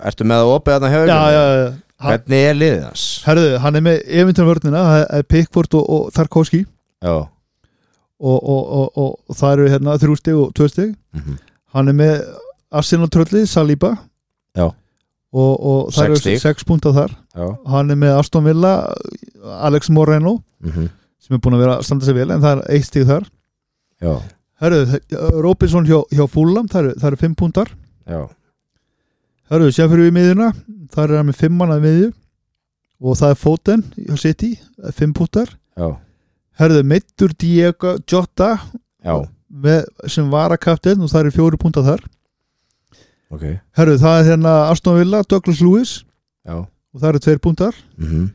Speaker 2: ertu með að opið þarna hjá
Speaker 3: já,
Speaker 2: ykkur?
Speaker 3: já, já. Hann,
Speaker 2: hvernig er liðið hans?
Speaker 3: herðu, hann er með efintunarvörnina, það er Pickford og, og Tarkovski
Speaker 2: já,
Speaker 3: og, og, og, og, og það eru hérna þrjú stig og tvö stig
Speaker 2: Mhm.
Speaker 3: hann er með Arsenal tröllið, Saliba
Speaker 2: Já.
Speaker 3: og, og það
Speaker 2: Sex
Speaker 3: eru
Speaker 2: stig.
Speaker 3: sex púnta þar
Speaker 2: já
Speaker 3: hann er með Aston Villa Alex Moreno
Speaker 2: mm
Speaker 3: sem er búin að vera að standa sig vel en það er eitt stig þar
Speaker 2: já,
Speaker 3: Herru, Robinson hjá, hjá Fulham það eru, það eru fimm púntar
Speaker 2: já,
Speaker 3: Herru, sem fyrir við miðjuna það er hann með fimm manna miðju og það er Foden hjá City fimm púntar
Speaker 2: já,
Speaker 3: Herru, meittur Diego Jota
Speaker 2: já
Speaker 3: með, sem var að kapteinn og það eru fjóri púntar þar
Speaker 2: ok,
Speaker 3: Herru, það er hérna Aston Villa, Douglas Lewis
Speaker 2: já
Speaker 3: og það eru tveir púntar
Speaker 2: mm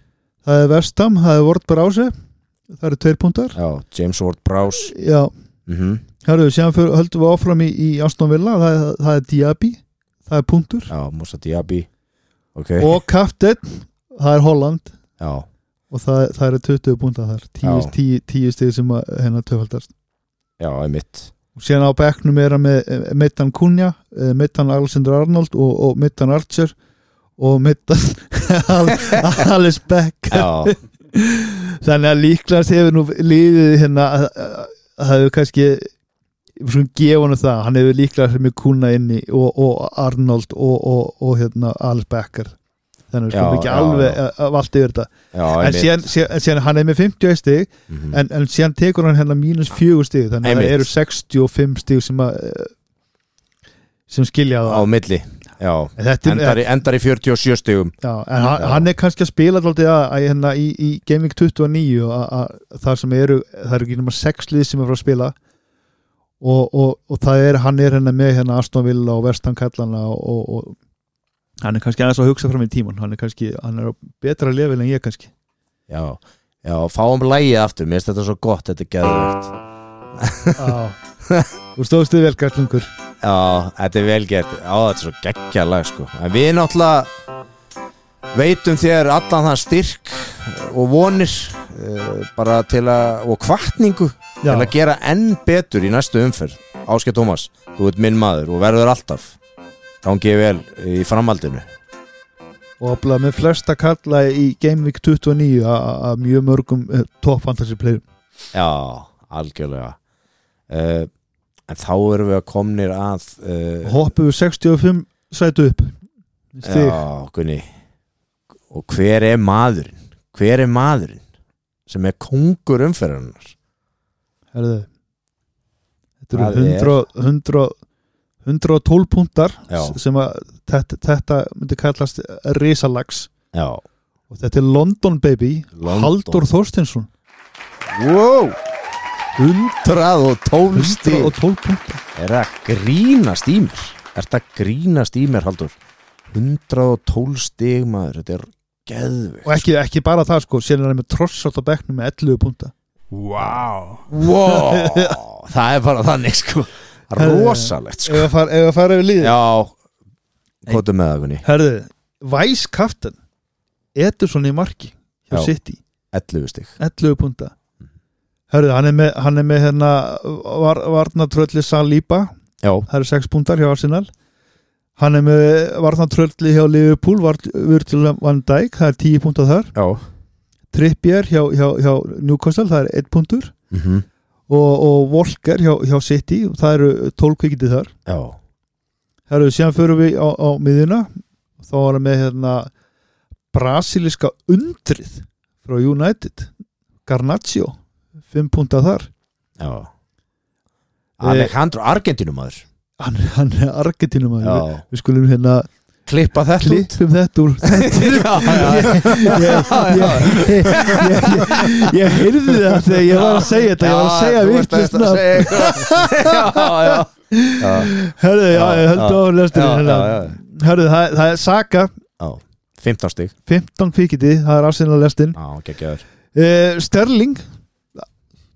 Speaker 3: það er Vestam, það er Ward Brause það eru tveir púntar
Speaker 2: já, James Ward Prowse
Speaker 3: Já,
Speaker 2: mm
Speaker 3: herru, sem fyrir, höldum við áfram í, í Aston Villa, það, er- það er Diaby það er púntur
Speaker 2: já, Musa Diaby ok,
Speaker 3: og kapteinn, það er Holland
Speaker 2: já,
Speaker 3: og það, það eru 20 púntar þar 10,
Speaker 2: Já.
Speaker 3: 10, 10 stig sem að hérna töfaldast
Speaker 2: já, einmitt
Speaker 3: og síðan á bekknum er hann með eh, Mittan Kunja, Mittan eh, Alexander Arnold og, og Mittan Archer og Mittan Alice Beck
Speaker 2: já,
Speaker 3: þannig að líklast hefur nú liðið hérna að- að- að það hefur kannski svona gefunum það, hann hefur líklast með kuna inni og, og Arnold og, og, og hérna Alice Becker þannig að við
Speaker 2: Já,
Speaker 3: skulum ekki
Speaker 2: já,
Speaker 3: alveg
Speaker 2: já.
Speaker 3: að- að valda yfir þetta
Speaker 2: já,
Speaker 3: en
Speaker 2: einmitt
Speaker 3: síðan, síðan, en síðan hann er með 50 stig
Speaker 2: Mhm.
Speaker 3: en, en síðan tekur hann hérna mínus fjögur stig þannig að
Speaker 2: Einmitt.
Speaker 3: það eru 65 stig sem að eh, sem skilja
Speaker 2: á
Speaker 3: það
Speaker 2: milli, já
Speaker 3: En þetta er,
Speaker 2: endar í, endar í 47 stigum
Speaker 3: já, en hann,
Speaker 2: Já.
Speaker 3: hann er kannski að spila alltaf að, að, hérna, í, í Gaming 29 að, að það sem eru, það eru ekki nema 6 lið sem er frá að spila og, og, og það er, hann er hérna með hérna Aston Villa og Vestan Kallana og, og, og hann er kannski aðeins að hugsa fram í tíman, hann er kannski, hann er á betra lefið en ég kannski
Speaker 2: já, já, fáum lægið aftur mér finnst þetta svo gott, þetta er geðvægt
Speaker 3: Já. Þú stóðstu vel gætlungur
Speaker 2: já, þetta er vel gert já, þetta er svo geggjað lag sko en við náttúrulega veitum þér allan þann styrk og vonir eh, bara til að, og kvartningu
Speaker 3: Já,
Speaker 2: til að gera enn betur í næstu umferð Áskei Tómas, þú ert minn maður og verður alltaf gangi vel í framhaldinu
Speaker 3: og aflað með flesta kalla í Game Week 29 a- a- að mjög mörgum eh, top fantasy player
Speaker 2: já, algjörlega uh, en þá erum við að komnir að uh,
Speaker 3: hoppum við 65 sætu upp stig
Speaker 2: Já, Gunni Og hver er maðurinn? Hver er maðurinn sem er kongur umferðarinnar?
Speaker 3: herðu þetta
Speaker 2: Það
Speaker 3: eru 100, 100, 112 púntar
Speaker 2: Já.
Speaker 3: s- sem að þetta, þetta myndi kallast risalags
Speaker 2: Já
Speaker 3: og þetta er London baby
Speaker 2: London.
Speaker 3: Haldur Þorstinsson
Speaker 2: Wow 112 stíl
Speaker 3: 112 púntar
Speaker 2: Er það grínast í mér? Er það grínast í mér, Haldur? 112 stig maður Þetta er geðvig
Speaker 3: og ekki, ekki bara það sko, síðan er hann með trossátt á bekknum með 11 púnta
Speaker 1: Wow.
Speaker 2: wow, Það er bara þannig sko Rosalegt sko
Speaker 3: ef að fara, ef að fara yfir liðið
Speaker 2: Já Kvotum með það, Gunni
Speaker 3: Herðu, Vice Captain Edison í marki hjá
Speaker 2: Já.
Speaker 3: City
Speaker 2: 11 stig
Speaker 3: 11 punta Herðu, hann er með, hann er með hérna var, varnatrölli Saliba
Speaker 2: Já,
Speaker 3: það eru 6 puntar hjá Arsenal hann er með varnatrölli hjá Liverpool Vartil Van Dijk, það er 10 punta þar
Speaker 2: já
Speaker 3: Trippier hjá, hjá, hjá Newcastle, það er 1 puntur
Speaker 2: mm -hmm.
Speaker 3: og, og Volker hjá, hjá City, það eru 12 kvikindi þar
Speaker 2: Já,
Speaker 3: Herru, síðan förum við á, á miðuna þá var hann með hérna brasiliska undrið frá United Garnaccio, fimm púnta þar
Speaker 2: já Alejandro Argentinum aður
Speaker 3: hann, hann er Argentínum að við,
Speaker 2: Já.
Speaker 3: við skulum hérna
Speaker 2: klippa þetta út
Speaker 3: klippum þetta úr
Speaker 2: Já, já, já.
Speaker 3: ég, ég, ég, ég heyrði það þegar ég var að segja þetta ég var að segja
Speaker 2: þú ert
Speaker 3: vitlaust
Speaker 2: að
Speaker 3: nafn.
Speaker 2: segja eitthvað. já, já. Já,
Speaker 3: Herðu, já,
Speaker 2: Já,
Speaker 3: ég held
Speaker 2: já.
Speaker 3: á lestur
Speaker 2: Já,
Speaker 3: hérna.
Speaker 2: já, já.
Speaker 3: Herðu, það, það er Saka
Speaker 2: 15 stig
Speaker 3: 15 fíkiti, það er afsynlega lestin
Speaker 2: Já, geggjaður
Speaker 3: uh, Sterling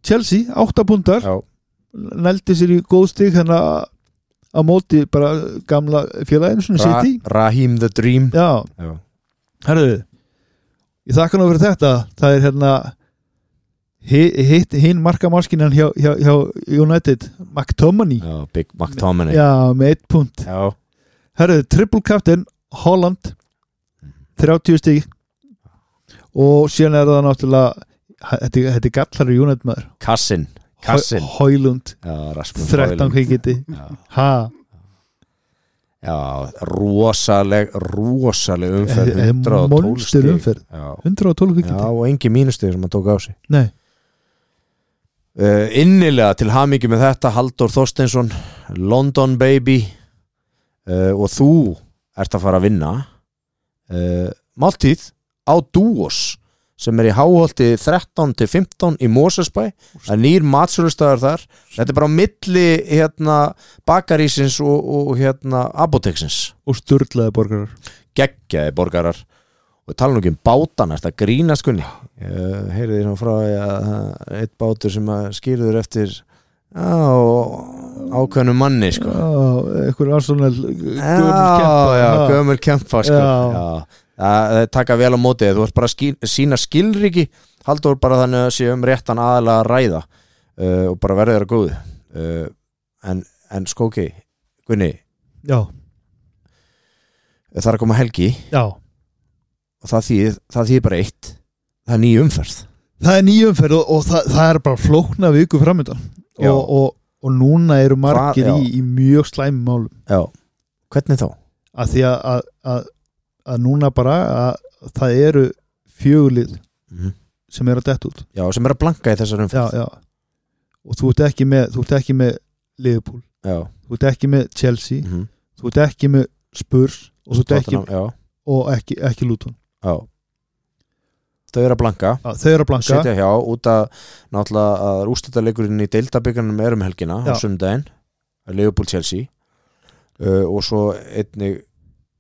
Speaker 3: Chelsea, 8 pundar
Speaker 2: Já.
Speaker 3: nældi sér í góð stig hérna á móti bara gamla félaginu svona
Speaker 2: Ra
Speaker 3: City
Speaker 2: Raheem the Dream
Speaker 3: Já,
Speaker 2: Já.
Speaker 3: herðu ég þakka nú fyrir þetta það er hérna hi- hitt hinn markamaskinan hjá, hjá, hjá United McTominay
Speaker 2: Já, Big McTominay
Speaker 3: Já, með 1 pund
Speaker 2: Já.
Speaker 3: Herðu, triple captain, Holland 30 stík og síðan er það náttúrulega þetta, þetta er gallar í United maður
Speaker 2: Kassin Kassin
Speaker 3: Hau- Højlund,
Speaker 2: Já, Rasmus
Speaker 3: 13
Speaker 2: Højlund.
Speaker 3: kvikiti
Speaker 2: Já.
Speaker 3: ha,
Speaker 2: Já, rosaleg rosaleg umferð
Speaker 3: Þetta er
Speaker 2: 112
Speaker 3: eh, monster
Speaker 2: stig.
Speaker 3: umferð.
Speaker 2: Já.
Speaker 3: 112
Speaker 2: Já,
Speaker 3: kvikiti
Speaker 2: og engin mínustig sem hann tók á sig
Speaker 3: Nei,
Speaker 2: uh, innilega til hamingi með þetta Halldór Þorsteinsson, London Baby uh, og þú ert að fara að vinna uh, Máltíð á Dúos sem er í háholti 13 til 15 í Mosesbæ það er nýr matsölustæðar þar þetta er bara á milli hérna, bakarísins og, og hérna, apoteksins
Speaker 3: og sturlaði borgarar
Speaker 2: geggjaði borgarar og við tala nú ekki um bátana þetta grínast kunni uh, heyriði nú frá því að það er eitt bátur sem að skýrður eftir á, ákveðnum manni sko.
Speaker 3: Já, einhver Arsenal eh,
Speaker 2: já, já, gömul kempa sko.
Speaker 3: Já.
Speaker 2: já. Það það taka vel á móti þér. þú ert bara að skil, sína skilriki haldur bara þannig að sé um réttan aðalega að ræða uh, og bara verður að góðu uh, en, en skóki Gunni,
Speaker 3: já,
Speaker 2: það er að koma helgi
Speaker 3: já,
Speaker 2: og það þýð, það þýð bara eitt það er nýjum umferð
Speaker 3: það er nýjumferð og, og það, það er bara flókna viku framöndan
Speaker 2: Já.
Speaker 3: og, og, og núna eru margir
Speaker 2: Hvað- já.
Speaker 3: í, í mjög slæmum málum
Speaker 2: Já, hvernig þá?
Speaker 3: að því að, að, að, að núna bara að það eru fjögulið
Speaker 2: Mhm.
Speaker 3: sem eru að detta út
Speaker 2: Já, sem er að blanka í þessar
Speaker 3: já,
Speaker 2: umferð
Speaker 3: já. og þú ert ekki með þú ert ekki með Liverpool
Speaker 2: já.
Speaker 3: þú ert ekki með Chelsea,
Speaker 2: mhm.
Speaker 3: þú ert ekki með Spurs og þú ert ekki,
Speaker 2: Tottenham, já,
Speaker 3: og ekki, ekki Luton
Speaker 2: já Þau eru að blanka
Speaker 3: Já, þau eru að blanka
Speaker 2: Sitja hjá út að náttúrulega að úrstættaleikurinn í deildabyggarnum er um helgina á
Speaker 3: Já.
Speaker 2: sundaginn Leopold Chelsea uh, og svo einnig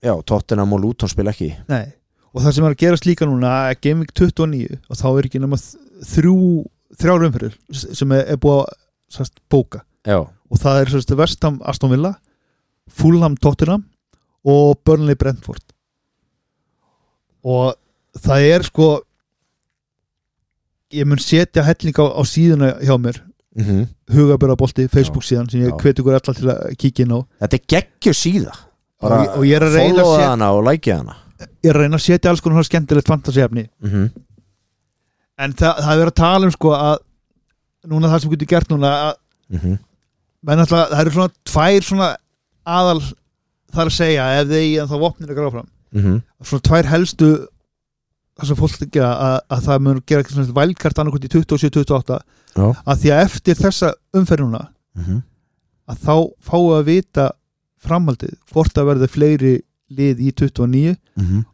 Speaker 2: já, Tottenham og Luton spila ekki
Speaker 3: Nei. og það sem er að gerast líka núna er Game Week 29 og þá er ekki nema þ- þrjú þrjár umfyrir sem er, er búið að sest, bóka
Speaker 2: Já,
Speaker 3: og það er sérst Vestam Aston Villa Fulham Tottenham og Burnley Brentford og það er sko ég mun setja helling á, á síðuna hjá mér
Speaker 2: mm
Speaker 3: hugabörabolti, Facebook síðan sem ég
Speaker 2: Já.
Speaker 3: hveti ykkur alla til að kíkja inn á
Speaker 2: þetta er geggjur síða
Speaker 3: og, og ég er að reyna að
Speaker 2: Followa
Speaker 3: setja,
Speaker 2: hana og lækja hana
Speaker 3: ég er að reyna að setja alls konar skemmtilegt fantasíafni
Speaker 2: mm
Speaker 3: en það, það er verið að tala um sko að núna það sem getur gert núna að
Speaker 2: Mhm.
Speaker 3: menn alltaf, það eru svona tvær svona aðal þar að segja ef þeir en þá vopnir að gráfram
Speaker 2: Mhm.
Speaker 3: svona tvær helstu það sem fólk ekki að, að það mun gera eitthvað svona vælkart annarkvæmt í 27-28
Speaker 2: Já. Mhm.
Speaker 3: að því að eftir þessa umferðuna að þá fáu að vita framhaldið, hvort að verði fleiri lið í 29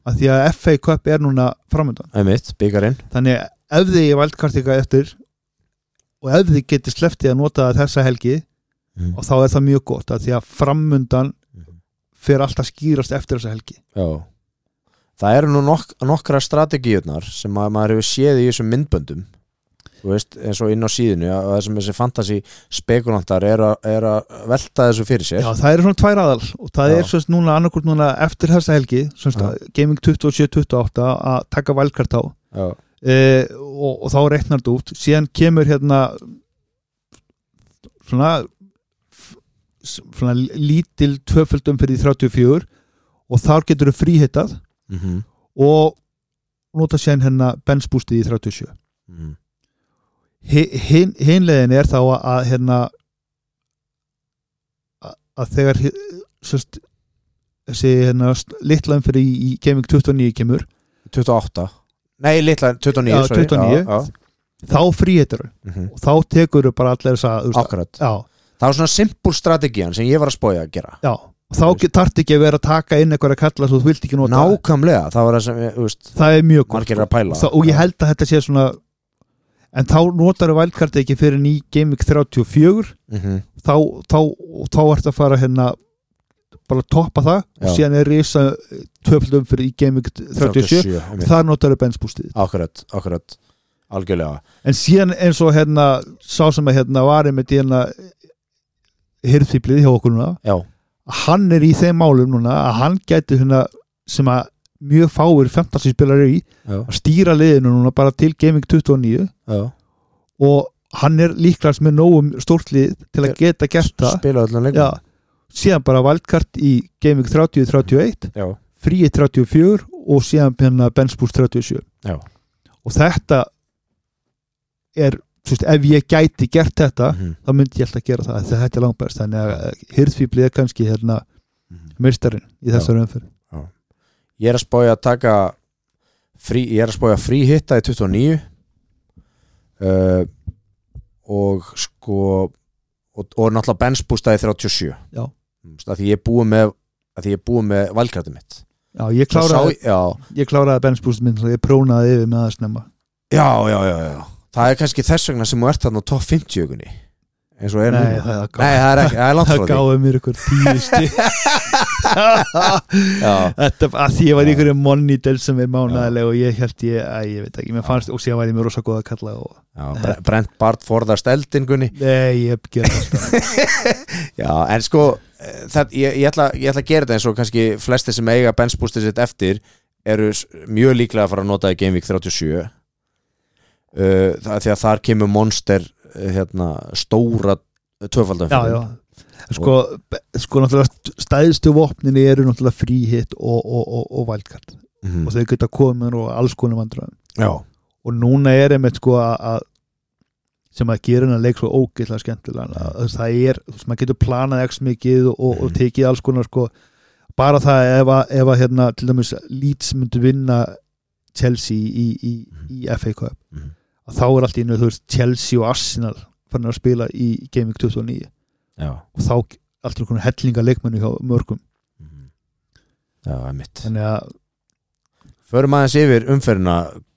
Speaker 3: að því að FA Cup er núna framöndan
Speaker 2: Mhm. Einmitt, byggarinn
Speaker 3: þannig að ef þið vælkart eitthvað eftir og ef þið getið sleftið að nota þessa helgi
Speaker 2: Mhm.
Speaker 3: og þá er það mjög gott að því að framöndan fer alltaf skýrast eftir þessa helgi
Speaker 2: Já Það eru nú nok nokkra strategíunar sem að maður hefur séð í þessum myndböndum þú veist, eins og inn á síðinu að það sem þessi fantasy spekulantar er, a, er að velta þessu fyrir sér
Speaker 3: Já, það eru svona tvær aðal og það
Speaker 2: Já.
Speaker 3: er svona núna annarkvort núna eftir þessa helgi svona gaming 27-28 að taka valkart á
Speaker 2: Já.
Speaker 3: e, og, og þá reiknar þetta út síðan kemur hérna svona svona lítil tvöföldum fyrir 34 og þar getur þau fríhittað
Speaker 2: Mhm.
Speaker 3: og nota síðan hérna bensbústið í 37
Speaker 2: Mhm.
Speaker 3: hin, hin leiðin er þá að, að hérna að, að þegar hi- sérst, þessi hérna st- litla umfyrir í, í Gaming 29 kemur
Speaker 2: 28 Nei, litla, 29
Speaker 3: Já,
Speaker 2: sorry.
Speaker 3: 29.
Speaker 2: já, já.
Speaker 3: þá fríhetur
Speaker 2: Mhm.
Speaker 3: og þá tekur bara allir þess að
Speaker 2: Akkurat
Speaker 3: já,
Speaker 2: það var svona simpul strategiðan sem ég var að spója að gera
Speaker 3: já, og þá þarf ekki að vera að taka inn eitthvað að kalla svo þú vilt ekki nota
Speaker 2: nákvæmlega, það var það sem, ég, þú veist
Speaker 3: það er mjög gott
Speaker 2: margir er að pæla
Speaker 3: Þa, og ég held að þetta sé svona en þá notar þú vældkarti ekki fyrir ný Game Week 34
Speaker 2: Mhm.
Speaker 3: þá, þá, þá ertu að fara hérna bara að toppa það
Speaker 2: Já.
Speaker 3: og síðan er risa töflum fyrir í Game Week 37
Speaker 2: einmitt.
Speaker 3: þar notar þú bensbústið
Speaker 2: akkurat, akkurat algjörlega,
Speaker 3: en síðan eins og hérna sá sem að hérna var einmitt í hérna hirðfýblið hjá okkur núna
Speaker 2: já,
Speaker 3: hann er í þeim málum núna að hann gæti hérna sem að mjög fáir 15 spilar eru í
Speaker 2: já,
Speaker 3: að stýra liðinu núna bara til Gaming 29
Speaker 2: já.
Speaker 3: og hann er líklast með nógum stórt lið til að geta gert það
Speaker 2: spila öllum leikum
Speaker 3: já, síðan bara valdkart í Gaming 30-31
Speaker 2: já,
Speaker 3: fríi 34 og síðan hérna Benspús 37
Speaker 2: Já.
Speaker 3: og þetta er, þú veist, ef ég gæti gert þetta,
Speaker 2: Mhm.
Speaker 3: þá myndi ég alltaf gera það þegar þetta er langbæst, þannig að hirðfýbli er kannski hérna
Speaker 2: Mhm.
Speaker 3: meistarinn í þessari umferð
Speaker 2: ég er að spója að taka frí, ég er að spója frí hitta í 29 uh, og sko og, og náttúrulega bensbústa í 37
Speaker 3: Já.
Speaker 2: Þú veist, að Mm, því ég er búið með að því ég er búið með valkrættum mitt
Speaker 3: Já, ég
Speaker 2: Svo sá,
Speaker 3: kláraði,
Speaker 2: ég- já,
Speaker 3: ég kláraði benspúsið minn, svo ég prónaði yfir með það snemma
Speaker 2: já, já, já, já það er kannski þess vegna sem þú ert þarna á top 50 -unni. eins og er
Speaker 3: Nei,
Speaker 2: núna.
Speaker 3: það er
Speaker 2: Nei, það er ekki, það er langt
Speaker 3: það
Speaker 2: frá því
Speaker 3: gáði mér ykkur tíu stík
Speaker 2: Já,
Speaker 3: Þetta að því ég var í ykkur monitel sem er
Speaker 2: mánaðarleg
Speaker 3: mánaðileg og ég held ég, að ég veit ekki, mér fannst og síðan var ég mér rosa góð að kalla og
Speaker 2: já Bre- Brent Bart forðast eldingunni
Speaker 3: nei, ég ger það
Speaker 2: Já, en sko eh, það, ég, ég, ætla, ég ætla að gera þetta eins og kannski flesti sem eiga bensbústið sitt eftir eru s- mjög líklega að fara að nota í Game Week 37 uh, Eh, það, því að þar kemur Monster eh, hérna, stóra töfaldum
Speaker 3: já, já. Sko, sko náttúrulega stæðstu vopninni eru náttúrulega fríhitt og, og, og, og valkart
Speaker 2: Mm. Mhm.
Speaker 3: og þau geta komin og alls konum andra
Speaker 2: já,
Speaker 3: og núna er einmitt sko að að- sem að gera hennar leik svo ógeðlega skemmtilega að, að það er, þú veist, maður getur planað ekki mikið og, og, og tekið alls konar sko bara það ef að, ef að hérna, til dæmis Leeds myndi vinna Chelsea í, í, í FA Cup
Speaker 2: Mhm.
Speaker 3: að þá er allt í einu, þú veist, Chelsea og Arsenal fann að spila í Gaming 29
Speaker 2: já.
Speaker 3: og þá allt er konar hellinga leikmennu hjá mörgum
Speaker 2: Mhm. já, mitt
Speaker 3: þannig að,
Speaker 2: Förum aðeins yfir umferðina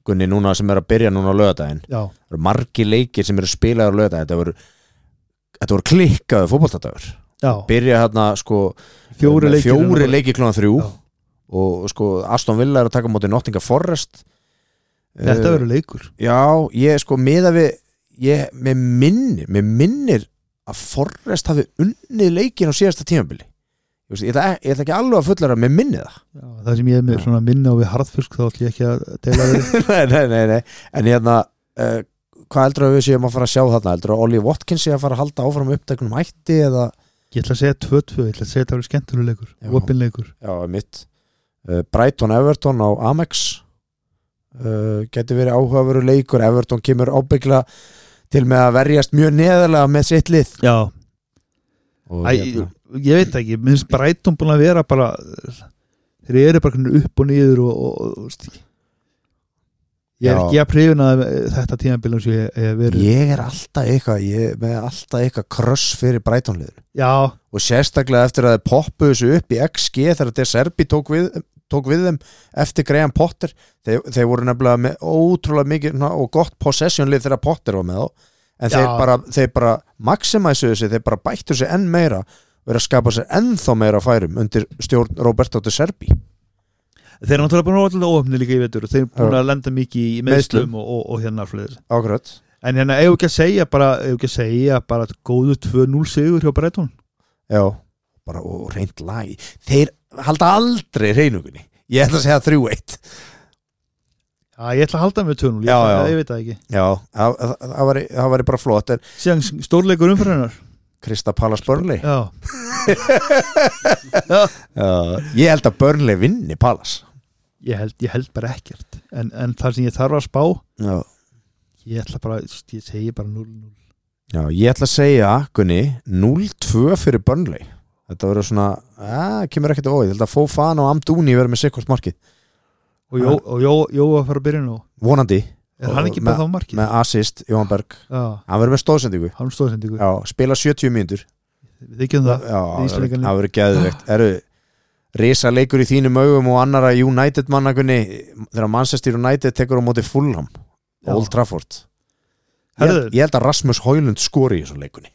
Speaker 2: Gunni núna sem er að byrja núna á lögadaginn
Speaker 3: já,
Speaker 2: Það eru margi leikir sem eru spilaður á lögadaginn Þetta voru, þetta voru klikkaðu fótboltadagur
Speaker 3: já
Speaker 2: Byrja hérna sko
Speaker 3: fjóri leikir
Speaker 2: fjóri leikir klónan þrjú
Speaker 3: Já.
Speaker 2: og sko Aston Villa er að taka á móti Nottingham Forest Eh,
Speaker 3: þetta verður leikur
Speaker 2: já, ég sko miða við ég, mér minnir, mér minnir að Forest hafi unnið leikin á síðasta tímabili ég, veist, ég, ætla, ek- ég ætla ekki alveg að fullara að mér minni það
Speaker 3: Já, það sem ég er með svona minna og við harðfusk þá ætlum ég ekki að deila þeir
Speaker 2: nei, nei, nei, nei, en hérna uh, hvað heldur að við séum að fara að sjá þarna heldur að Ollie Watkins sé að fara að halda áfram uppteknum hætti eða,
Speaker 3: ég ætla að segja 2-2, ég ætla að segja að það verður skemmtulegur
Speaker 2: Já.
Speaker 3: opinleikur,
Speaker 2: já, mitt uh, Brighton Everton á Amex uh, geti verið áhugaveru leikur Everton kemur ábyggla til með að verjast mjög neðarlega með sitt lið
Speaker 3: já,
Speaker 2: og, hérna.
Speaker 3: Æ, ég, ég veit ekki minnst Brighton búin að vera bara þeir eru bara hvernig upp og niður og, og, og þú veist, ég er
Speaker 2: Já.
Speaker 3: ekki að prifina þetta tímabilum sem ég hef verið
Speaker 2: ég er alltaf eitthvað ég er með alltaf eitthvað kröss fyrir Brighton liðinu
Speaker 3: já,
Speaker 2: og sérstaklega eftir að þeir poppu þessu upp í XG þegar De Serbi tók við, tók við þeim eftir Graham Potter þeir, þeir voru nefnilega með ótrúlega mikið svona, og gott possessionlið þegar Potter var með þá en
Speaker 3: Já.
Speaker 2: þeir bara, þeir bara maximæsu þessu, þeir bara bættu þessu enn meira og eru að skapa sér ennþá meira færum undir stjórn Roberto De Serbi
Speaker 3: þeir eru náttúrulega búin að vera óöfni líka í vetur og þeir eru búin að lenda mikið í meðslum og, og, og hérna fleiri
Speaker 2: Ákvæmt
Speaker 3: en hérna, eigum við ekki að segja bara, eigum við ekki að segja bara góðu 2-0 sigur hjá Brighton
Speaker 2: Já, bara og reynd lagi Þeir halda aldrei reynugunni Ég ætla að segja 3-1
Speaker 3: já, ég ætla að halda með 2-0, ég,
Speaker 2: Já,
Speaker 3: ætla-
Speaker 2: já.
Speaker 3: ég veit það ekki
Speaker 2: Já, það það- það væri það væri bara flott en
Speaker 3: síðan stórleikur umfyrir
Speaker 2: Krista Pallas Burnley
Speaker 3: hennar
Speaker 2: Já, Uh, ég held að Burnley vinni Palace
Speaker 3: ég held, ég held bara ekkert en, en þar sem ég þarf að spá
Speaker 2: já.
Speaker 3: ég ætla bara, þú veist, ég segi bara 0-0
Speaker 2: ég ætla að segja Gunni 0-2 fyrir Burnley Þetta verður svona, að, kemur ekkert á óið Ég held að Fofana og Amdúni verður með sikkvort markið
Speaker 3: og Jó, og jó, jó að fara að byrja nú
Speaker 2: Vonandi,
Speaker 3: er hann ekki bara þá markið?
Speaker 2: með assist, Jóhann Berg
Speaker 3: Já,
Speaker 2: hann verður með stóðsendingu,
Speaker 3: hann stóðsendingu
Speaker 2: já, spila 70 mínútur
Speaker 3: Við ekki um það
Speaker 2: já, það
Speaker 3: Ísleikanum.
Speaker 2: verður geðveikt eru risa leikur í þínum augum og annara United mannakunni þegar Manchester United tekur á móti Fulham
Speaker 3: Já.
Speaker 2: Old Trafford ég,
Speaker 3: Herðu,
Speaker 2: ég held að Rasmus Højlund skori í þessum leikunni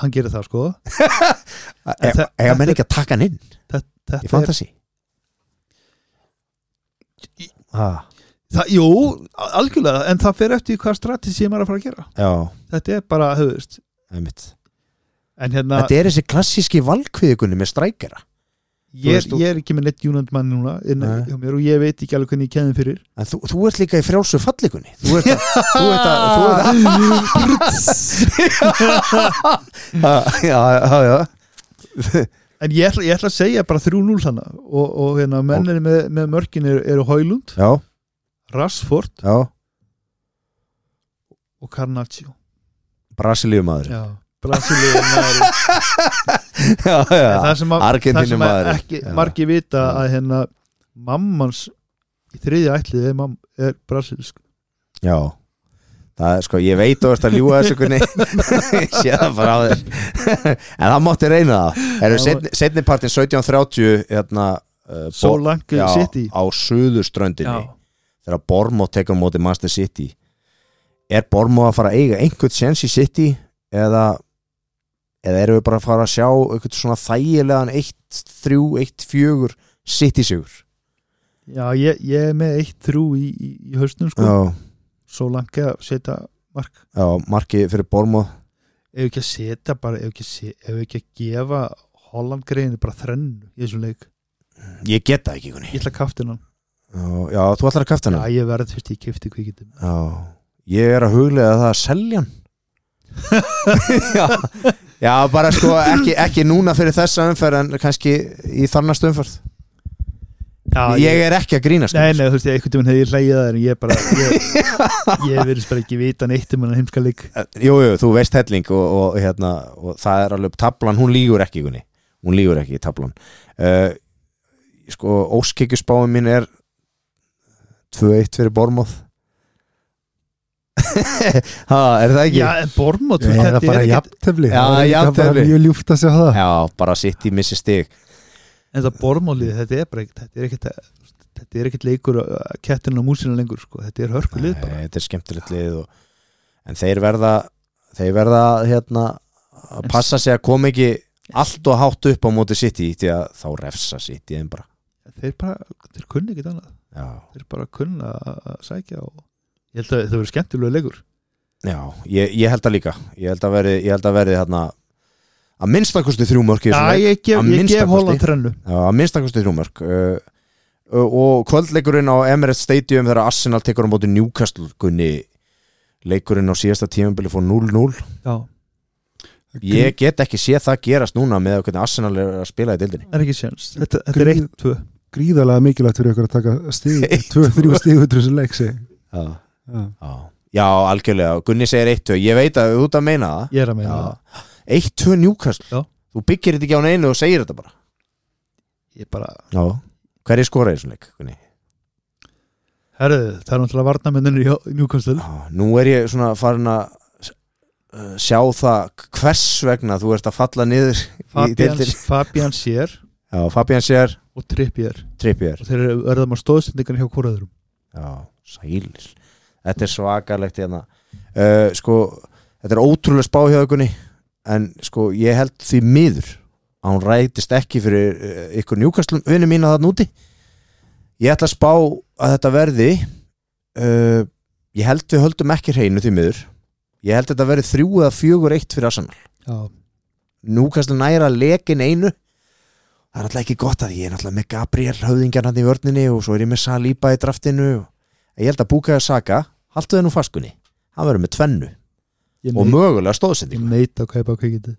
Speaker 3: Hann gerir það sko
Speaker 2: Eh,
Speaker 3: En þe-
Speaker 2: eða menn ekki að taka hann inn í
Speaker 3: Þetta er,
Speaker 2: fantasy ah,
Speaker 3: það, jú, algjörlega En það fer eftir hvað strategi maður er að fara að gera
Speaker 2: já,
Speaker 3: Þetta er bara, höfðust
Speaker 2: einmitt
Speaker 3: En hérna,
Speaker 2: þetta er þessi klassíski valkviðikunni með strækjara
Speaker 3: ég, er,
Speaker 2: veist, þú-
Speaker 3: ég er ekki með neitt United mann núna inn,
Speaker 2: Nei.
Speaker 3: hjá mér, og ég veit ekki alveg hvernig ég kemði fyrir
Speaker 2: en þú, þú ert líka í frjálsu fallikunni þú ert að, þú ert að, þú ert að já, já, já, já
Speaker 3: En ég ætla, ég ætla að segja bara 3-0 hana og, og hérna, mennir með, með mörkin eru, eru Hólund,
Speaker 2: já,
Speaker 3: Rashford
Speaker 2: já,
Speaker 3: og Carnaccio
Speaker 2: brasilíumadur
Speaker 3: Já, Brasilíu maður
Speaker 2: já, já,
Speaker 3: það sem að, það sem að
Speaker 2: Argentínumaður.
Speaker 3: ekki,
Speaker 2: Já.
Speaker 3: margir vita
Speaker 2: Já.
Speaker 3: að hérna mammans í þriðja ætlið er, mam, er brasilísk
Speaker 2: já það er sko, ég veit þú ert að ljúga þessu kunni ég sé það bara á þér en það mátti reyna það
Speaker 3: Já.
Speaker 2: erum setni, setni partin 1730 hérna, uh, Bo-
Speaker 3: svo langt
Speaker 2: já,
Speaker 3: sitt í
Speaker 2: á suðurströndinni þegar Bormóð tekur á móti Master City er Bormóð að fara að eiga einhvern sens í City eða eða erum við bara að fara að sjá einhvern svona þægilegan 1-3, 1-4 City sigur
Speaker 3: Já, ég, ég er með 1-3 í, í, í hausnum sko,
Speaker 2: já,
Speaker 3: svo langt að setja mark,
Speaker 2: já, markið fyrir Bormóð
Speaker 3: ef ekki að setja bara, ef ekki, að se- ef ekki að gefa Holland greiðinu bara þrennu í þessum leik,
Speaker 2: ég get það ekki kunni
Speaker 3: ég ætla að kaftina hann
Speaker 2: já, já, þú ætlar að kafta
Speaker 3: Já,
Speaker 2: hana
Speaker 3: ég verð fyrst ég kifti kvikitum
Speaker 2: já, ég er að huglega það að selja hann já, já, bara sko ekki, ekki núna fyrir þessa umferð en kannski í þarnast umferð
Speaker 3: Já,
Speaker 2: ég er ekki að grínast
Speaker 3: Nei, nei, þú veist, ég einhvern veginn hefði ég hlægjað það en ég bara, ég, ég verðist bara ekki vita neitt um hann heimska leik
Speaker 2: Eh, Jú, jú, þú veist helling og, og, hérna, og það er alveg tablan, hún lígur ekki kunni. hún lígur ekki í tablan uh, sko, óskikjusbáin mín er 2-1 fyrir Bormóð ha, er það ekki?
Speaker 3: Já, en Bormótt,
Speaker 4: Ég er það bara jafntefli
Speaker 2: Já,
Speaker 4: Það er líka bara
Speaker 2: jafntefli.
Speaker 4: Mjög ljúft að sjá það
Speaker 2: Já, bara sitt í missi stig
Speaker 3: En það bormálið, þetta er bara ekkert þetta er ekkert, þetta er ekkert leikur að kettina og músina lengur, sko, þetta er hörkulið
Speaker 2: Nei,
Speaker 3: bara.
Speaker 2: Eh, þetta er skemmtilegt lið og, en þeir verða þeir verða hérna að passa sig að koma ekki allt og hátt upp á móti sitt í því að þá refsa sitt í þeim bara
Speaker 3: Þeir bara, þeir kunna ekkert annað
Speaker 2: Já,
Speaker 3: þeir bara kunna að að sækja og ég held að það verður skemmtilega leikur
Speaker 2: Já, ég, ég held að líka ég held að verði, ég held að verði hérna að minnstakosti þrjú mörk í
Speaker 3: Já,
Speaker 2: þessum leik.
Speaker 3: ég gef,
Speaker 2: að
Speaker 3: ég
Speaker 2: minnsta
Speaker 3: gef
Speaker 2: kosti.
Speaker 3: Holland trennu
Speaker 2: Já, að minnstakosti þrjú mörk uh, uh, og kvöldleikurinn á Emirates Stadium þegar Arsenal tekur á móti Newcastle kunni leikurinn á síðasta tímabili fór 0-0
Speaker 3: Já, það
Speaker 2: ég get ekki séð það gerast núna með hvernig Arsenal er að spila í dildinni
Speaker 3: er ekki séns Þetta, þetta er
Speaker 4: Grín-
Speaker 3: 1-2
Speaker 4: Gríðalega mikilvægt fyrir okkur að taka stíð Tvö, þrjú stíð út úr þessu leik sig
Speaker 2: Já,
Speaker 4: Já.
Speaker 2: já, já algjörlega Gunni segir 1-2, ég veit að þú ert að meina það
Speaker 3: Ég er að meina
Speaker 2: Já.
Speaker 3: það
Speaker 2: 1-2 Newcastle,
Speaker 3: Já.
Speaker 2: þú byggir þetta ekki á neinu og segir þetta bara
Speaker 3: Ég bara,
Speaker 2: Já, hverju skoraði þessum leik, Gunni?
Speaker 3: herðu, það er náttúrulega varnamennir í njúkastöld
Speaker 2: Já, Ah, nú er ég svona farin að uh, sjá það hvers vegna þú ert að falla niður í
Speaker 3: Fabian,
Speaker 2: deildinni.
Speaker 3: Fabian Sér
Speaker 2: Já, Fabian sér,
Speaker 3: og Trippier
Speaker 2: Trippier
Speaker 3: og þeir eru verðum að stóðsendingan hjá hvoraðurum
Speaker 2: Já, sælis Þetta er svakalegt hérna uh, Sko, þetta er ótrúlega spáhjöðugunni en sko, ég held því miður að hún rætist ekki fyrir uh, ykkur njúkastlum vinnu mína þarna úti Ég ætla að spá að þetta verði uh, Ég held við höldum ekki hreinu því miður Ég held þetta verði þrjú eða fjögur eitt fyrir Arsenal
Speaker 3: Já,
Speaker 2: Núkastle næra lekin einu það er alltaf ekki gott að ég er alltaf með Gabriel höfðingjarn hann í vörninni og svo er ég með Saliba í draftinu ég held að búkaða Saka, haltu það nú faskunni hann verður með tvennu
Speaker 3: ég
Speaker 2: og
Speaker 3: neit-
Speaker 2: mögulega
Speaker 3: ég
Speaker 2: stóðsendingu
Speaker 3: neita að kaupa kvikindi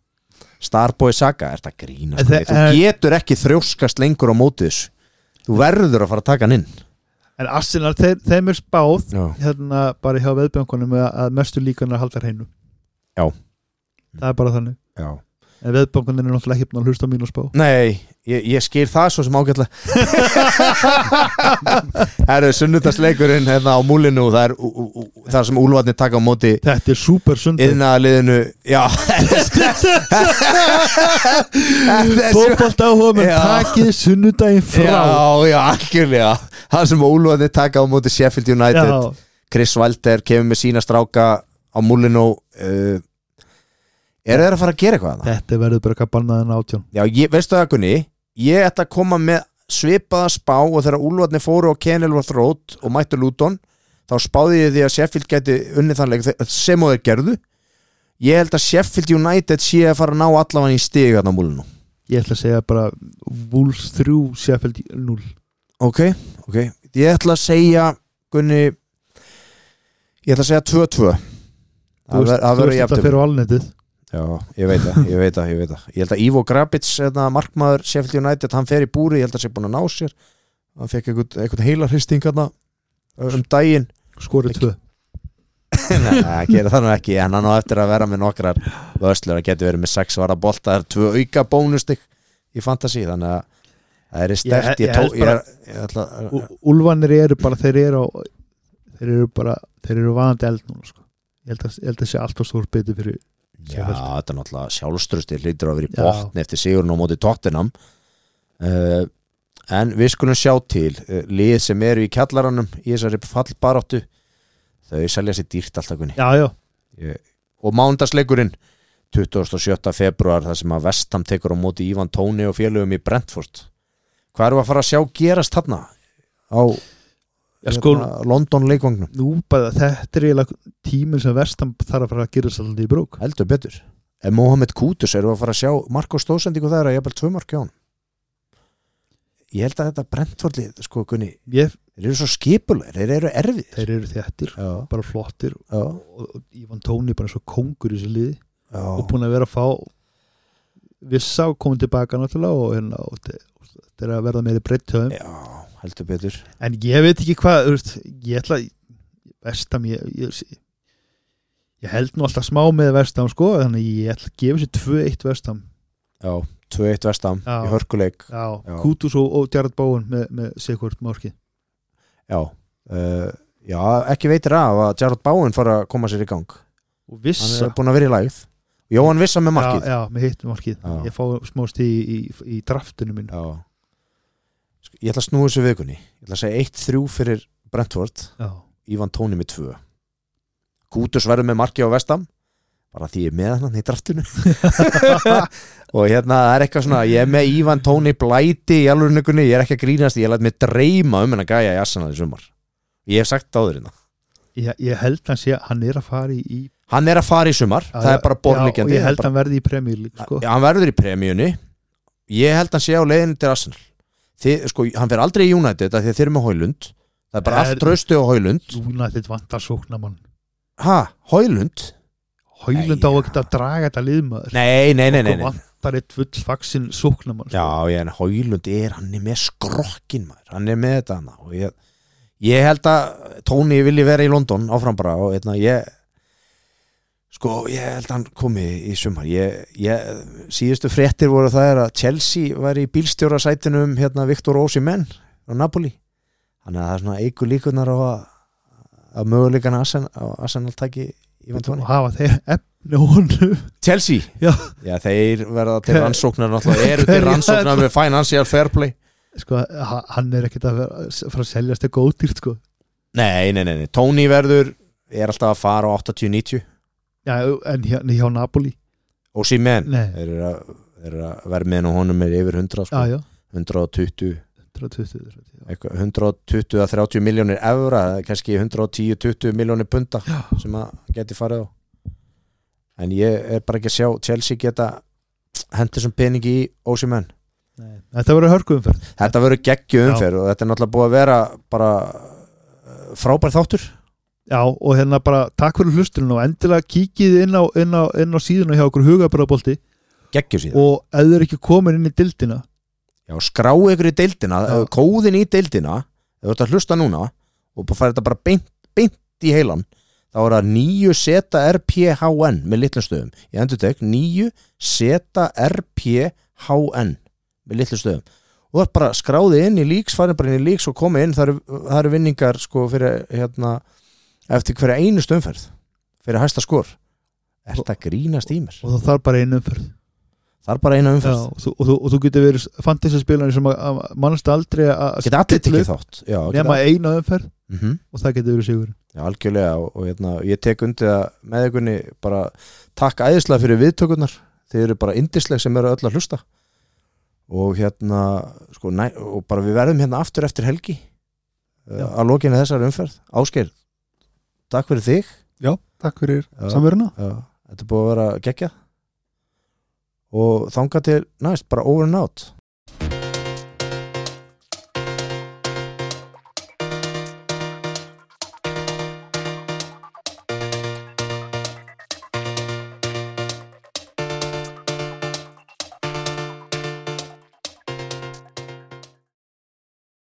Speaker 2: Starboy Saka, er þetta grínast
Speaker 3: En
Speaker 2: Þe,
Speaker 3: þe-
Speaker 2: sko, þú
Speaker 3: en-
Speaker 2: getur ekki þrjóskast lengur á móti þessu þú verður að fara að taka hann inn
Speaker 3: En Arsenal, þeir, þeim er spáð
Speaker 2: já,
Speaker 3: hérna bara hjá veðbjöngunum að, að mestu líkunar halda hreinu
Speaker 2: Já.
Speaker 3: Það er bara þannig
Speaker 2: já.
Speaker 3: en veðbankan er náttúrulega ekki búin að hlusta á mín og spá
Speaker 2: Nei, ég, ég skil það svo sem ágætlega Það eru sunnudagsleikurinn hérna á múlinu og það er ú- ú- ú- þar sem úlfarnir taka á móti
Speaker 3: þetta er super sundið
Speaker 2: yðnaðaliðinu Já Þetta er svo-
Speaker 3: fókbalt áhuga með
Speaker 2: Já.
Speaker 3: takið sunnudaginn frá
Speaker 2: Já, já, algjörlega Það sem úlfarnir taka á móti Sheffield United Chris Walter kemur með sína stráka á múlinu uh, Eru þeir að fara að gera eitthvað? þarna?
Speaker 3: þetta verður bara eitthvað bannað en átján
Speaker 2: Já, ég, veistu það Gunni Ég ætla að koma með svipaða spá og þegar Úlfarnir fóru á Kenilworth Road og mættu Luton þá spáði ég því að Sheffield gæti unnið þannleik sem og þeir gerðu Ég held að Sheffield United sé að fara að ná allafan í stig þarna á múlinu
Speaker 3: ég ætla að segja bara Wolves 3, Sheffield 0
Speaker 2: Ok, ok Ég ætla að segja Gunni Ég ætla að segja 2-2
Speaker 3: þú
Speaker 2: Það ver- það verður um.
Speaker 3: þetta
Speaker 2: jafnum
Speaker 3: fyrir á alnetið
Speaker 2: Já, ég veit það, ég veit það, ég veit það Ég held að Ivo Grabitz, hérna, markmaður Sheffield United, hann fer í búri, ég held að sé búin að ná sér hann fekk einhvern, einhvern heilarhristing hérna um daginn
Speaker 3: skorið 2
Speaker 2: Nei, það gerir það nú ekki, en hann á eftir að vera með nokkrar vörslur, hann getur verið með sex vara bolta, það er tvö auka bónustig í fantasy, þannig að það er stert, ég,
Speaker 3: Ég- ég
Speaker 2: tó,
Speaker 3: held
Speaker 2: ég,
Speaker 3: bara-
Speaker 2: er- ég ætla að
Speaker 3: Ulfanir eru bara þeir eru, á, þeir eru bara þeir eru vaðandi eld núna sko. ég held að, ég held að sé alltaf stór biti fyrir
Speaker 2: Já, þetta er náttúrulega sjálfstrusti hlýtur að vera í
Speaker 3: Já.
Speaker 2: botn eftir sigurinn á móti tóttinam uh, en við skulum sjá til uh, lið sem eru í kjallaranum í þessari fallbaráttu þau selja sér dýrt alltaf kunni
Speaker 3: já, já,
Speaker 2: og mándagsleikurinn 27. februar þar sem að Vestam tekur á móti Ívan Tóni og félögum í Brentford hvað erum við að fara að sjá gerast þarna á
Speaker 3: já sko,
Speaker 2: hérna, London leikvangnum
Speaker 3: nú bara þetta er eiginlega tíminn sem vestan þarf að fara að gera svolítið í brók
Speaker 2: heldur betur en Mohamed Kutus erum við að fara að sjá Marko Stósendingu það er að ég hafði tvö marki á hann ég held að þetta brentfórlið sko Gunni,
Speaker 3: ég,
Speaker 2: þeir eru svo skipulegir þeir eru erfið
Speaker 3: þeir eru þettir,
Speaker 2: já,
Speaker 3: bara flottir
Speaker 2: já,
Speaker 3: og, og Ívan Tóni bara eins og kongur í þessu liði
Speaker 2: já,
Speaker 3: og búin að vera að fá vissa og komið tilbaka náttúrulega og, hérna, og þe- og þetta er að verða meiri breytt höfum
Speaker 2: já heldur betur
Speaker 3: en ég veit ekki hvað þú veist, ég ætla vestam ég, ég, ég held nú alltaf smá með vestam sko þannig að ég ætla að gefa sér 2-1 vestam
Speaker 2: já, 2-1 vestam
Speaker 3: Já.
Speaker 2: í hörkuleik
Speaker 3: já,
Speaker 2: Já.
Speaker 3: Kútus og, og Gerard Bóun með, með Sigurd Márki
Speaker 2: já, uh, já ekki veitir af að Jarrod Báinn fara að koma sér í gang
Speaker 3: og
Speaker 2: hann
Speaker 3: vissa
Speaker 2: er búin að vera í lægð Jóhann Vissa með markið
Speaker 3: já, já, með hittum Márkið
Speaker 2: Já.
Speaker 3: ég fá smá stíð í, í, í draftinu mín
Speaker 2: Já. Sko, ég ætla að snúa þessu vikunni ég ætla að segja 1-3 fyrir Brentford
Speaker 3: já,
Speaker 2: Ívan Tóni með tvö Kútus verður með marki á vestam bara því ég er með hann í draftinu og hérna það er eitthvað svona ég er með Ívan Tóni blæti í alvörunugunni, ég er ekki að grínast ég læt mig dreyma um hennar gæja í Arsenal í sumar ég hef sagt það áður hérna
Speaker 3: ég, ég held hans ég, hann er að fara í, í
Speaker 2: hann er að fara í sumar, það er bara
Speaker 3: Já, og
Speaker 2: borlíkjandi
Speaker 3: ég held hann verði í premjör líka sko.
Speaker 2: sko. hann verður í premjunni ég held hann sé á leiðinu til Arsenal Þið, sko, hann fer aldrei í United af því að þeir eru með Hólund það er bara
Speaker 3: Er-
Speaker 2: allt traustu á Hólund
Speaker 3: United vantar sóknamann
Speaker 2: ha, Hólund?
Speaker 3: Hælund
Speaker 2: Nei,
Speaker 3: á að
Speaker 2: já.
Speaker 3: geta að draga þetta liðmaður
Speaker 2: Nei, nei, nei, nei,
Speaker 3: og
Speaker 2: nei.
Speaker 3: vantar eitt fullfaksin sóknamann
Speaker 2: já,
Speaker 3: sko.
Speaker 2: ég, en Hólund er hann er með skrokkin maður, hann er með þetta hana. og ég, ég held að Tóni vilji vera í London áfram bara og eitna, ég sko, ég held að hann komi í sumar ég, ég, síðustu fréttir voru það er að Chelsea var í bílstjóra sætinum hérna Viktor Ósimenn á Napoli þannig að það er svona eigur líkunar á að, að möguleikan Arsenal, Arsenal taki Ivan
Speaker 3: og
Speaker 2: Tóni
Speaker 3: hafa þeir efni honum
Speaker 2: Chelsea?
Speaker 3: Já.
Speaker 2: þeir verða til
Speaker 3: Hver-
Speaker 2: rannsóknar náttúrulega eru til
Speaker 3: Hverja-
Speaker 2: rannsóknar með financial fair play
Speaker 3: sko, ha- hann er ekkert að vera- fara að seljast eitthvað ódýrt sko.
Speaker 2: Nei, nei, nei, nei. Tony verður er alltaf að fara á 80-90
Speaker 3: já, en hjá, hjá Napoli
Speaker 2: og símen
Speaker 3: Nei.
Speaker 2: þeir eru að, þeir eru að verða með og honum er yfir 100 sko.
Speaker 3: já, já,
Speaker 2: 120
Speaker 3: 120 130, já.
Speaker 2: eitthvað, 120 að 30 miljónir evra eða kannski 110-20 miljónir punta
Speaker 3: Já.
Speaker 2: sem að geti farið á en ég er bara ekki að sjá Chelsea geta hendur sem peningi í Ósimenn
Speaker 3: Nei, þetta verður hörkuumferð
Speaker 2: Þetta verður geggju umferð og þetta er náttúrulega búið að vera bara eh, frábær þáttur
Speaker 3: já, og hérna bara takk fyrir hlustunum og endilega kíkið inn á, inn á, inn á síðuna hjá okkur hugabröðabolti
Speaker 2: geggju síðan
Speaker 3: og ef þau eru ekki komin inn í dildina
Speaker 2: Já, skráu ykkur í deildina,
Speaker 3: Já.
Speaker 2: eh, kóðin í deildina ef þú ert að hlusta núna og bara fara þetta bara beint, beint í heilan þá er það 9 seta RPHN með litlum stöðum, ég endur tek 9 seta RPHN með litlum stöðum og það er bara skráðið inn í líks farin bara inn í líks og komið inn, það eru, það eru vinningar sko fyrir hérna eftir hverja einu stöðumferð fyrir hæsta skor er þetta grínast í mér
Speaker 3: og það þarf bara einu umferð
Speaker 2: það er bara eina
Speaker 3: Já,
Speaker 2: umferð,
Speaker 3: og, þú, og, þú, og þú getur verið fantasyspilari sem að- að mannast aldrei að
Speaker 2: geta allir
Speaker 3: stilla
Speaker 2: tekið
Speaker 3: upp
Speaker 2: þátt já, geta,
Speaker 3: nema eina umferð
Speaker 2: mm
Speaker 3: og það getur verið sigur
Speaker 2: Já, algjörlega og, og hérna, ég tek undir það með einhvernig bara takk æðislega fyrir viðtökurnar þeir eru bara indisleg sem eru öll að hlusta og hérna sko, næ, og bara við verðum hérna aftur eftir helgi
Speaker 3: Já.
Speaker 2: uh, að lokinu þessari umferð Ásgeir, takk fyrir þig
Speaker 4: Já, takk fyrir
Speaker 2: Já.
Speaker 4: samveruna
Speaker 2: Já. Þetta er búið að vera geggja og þanga til næst, bara over and out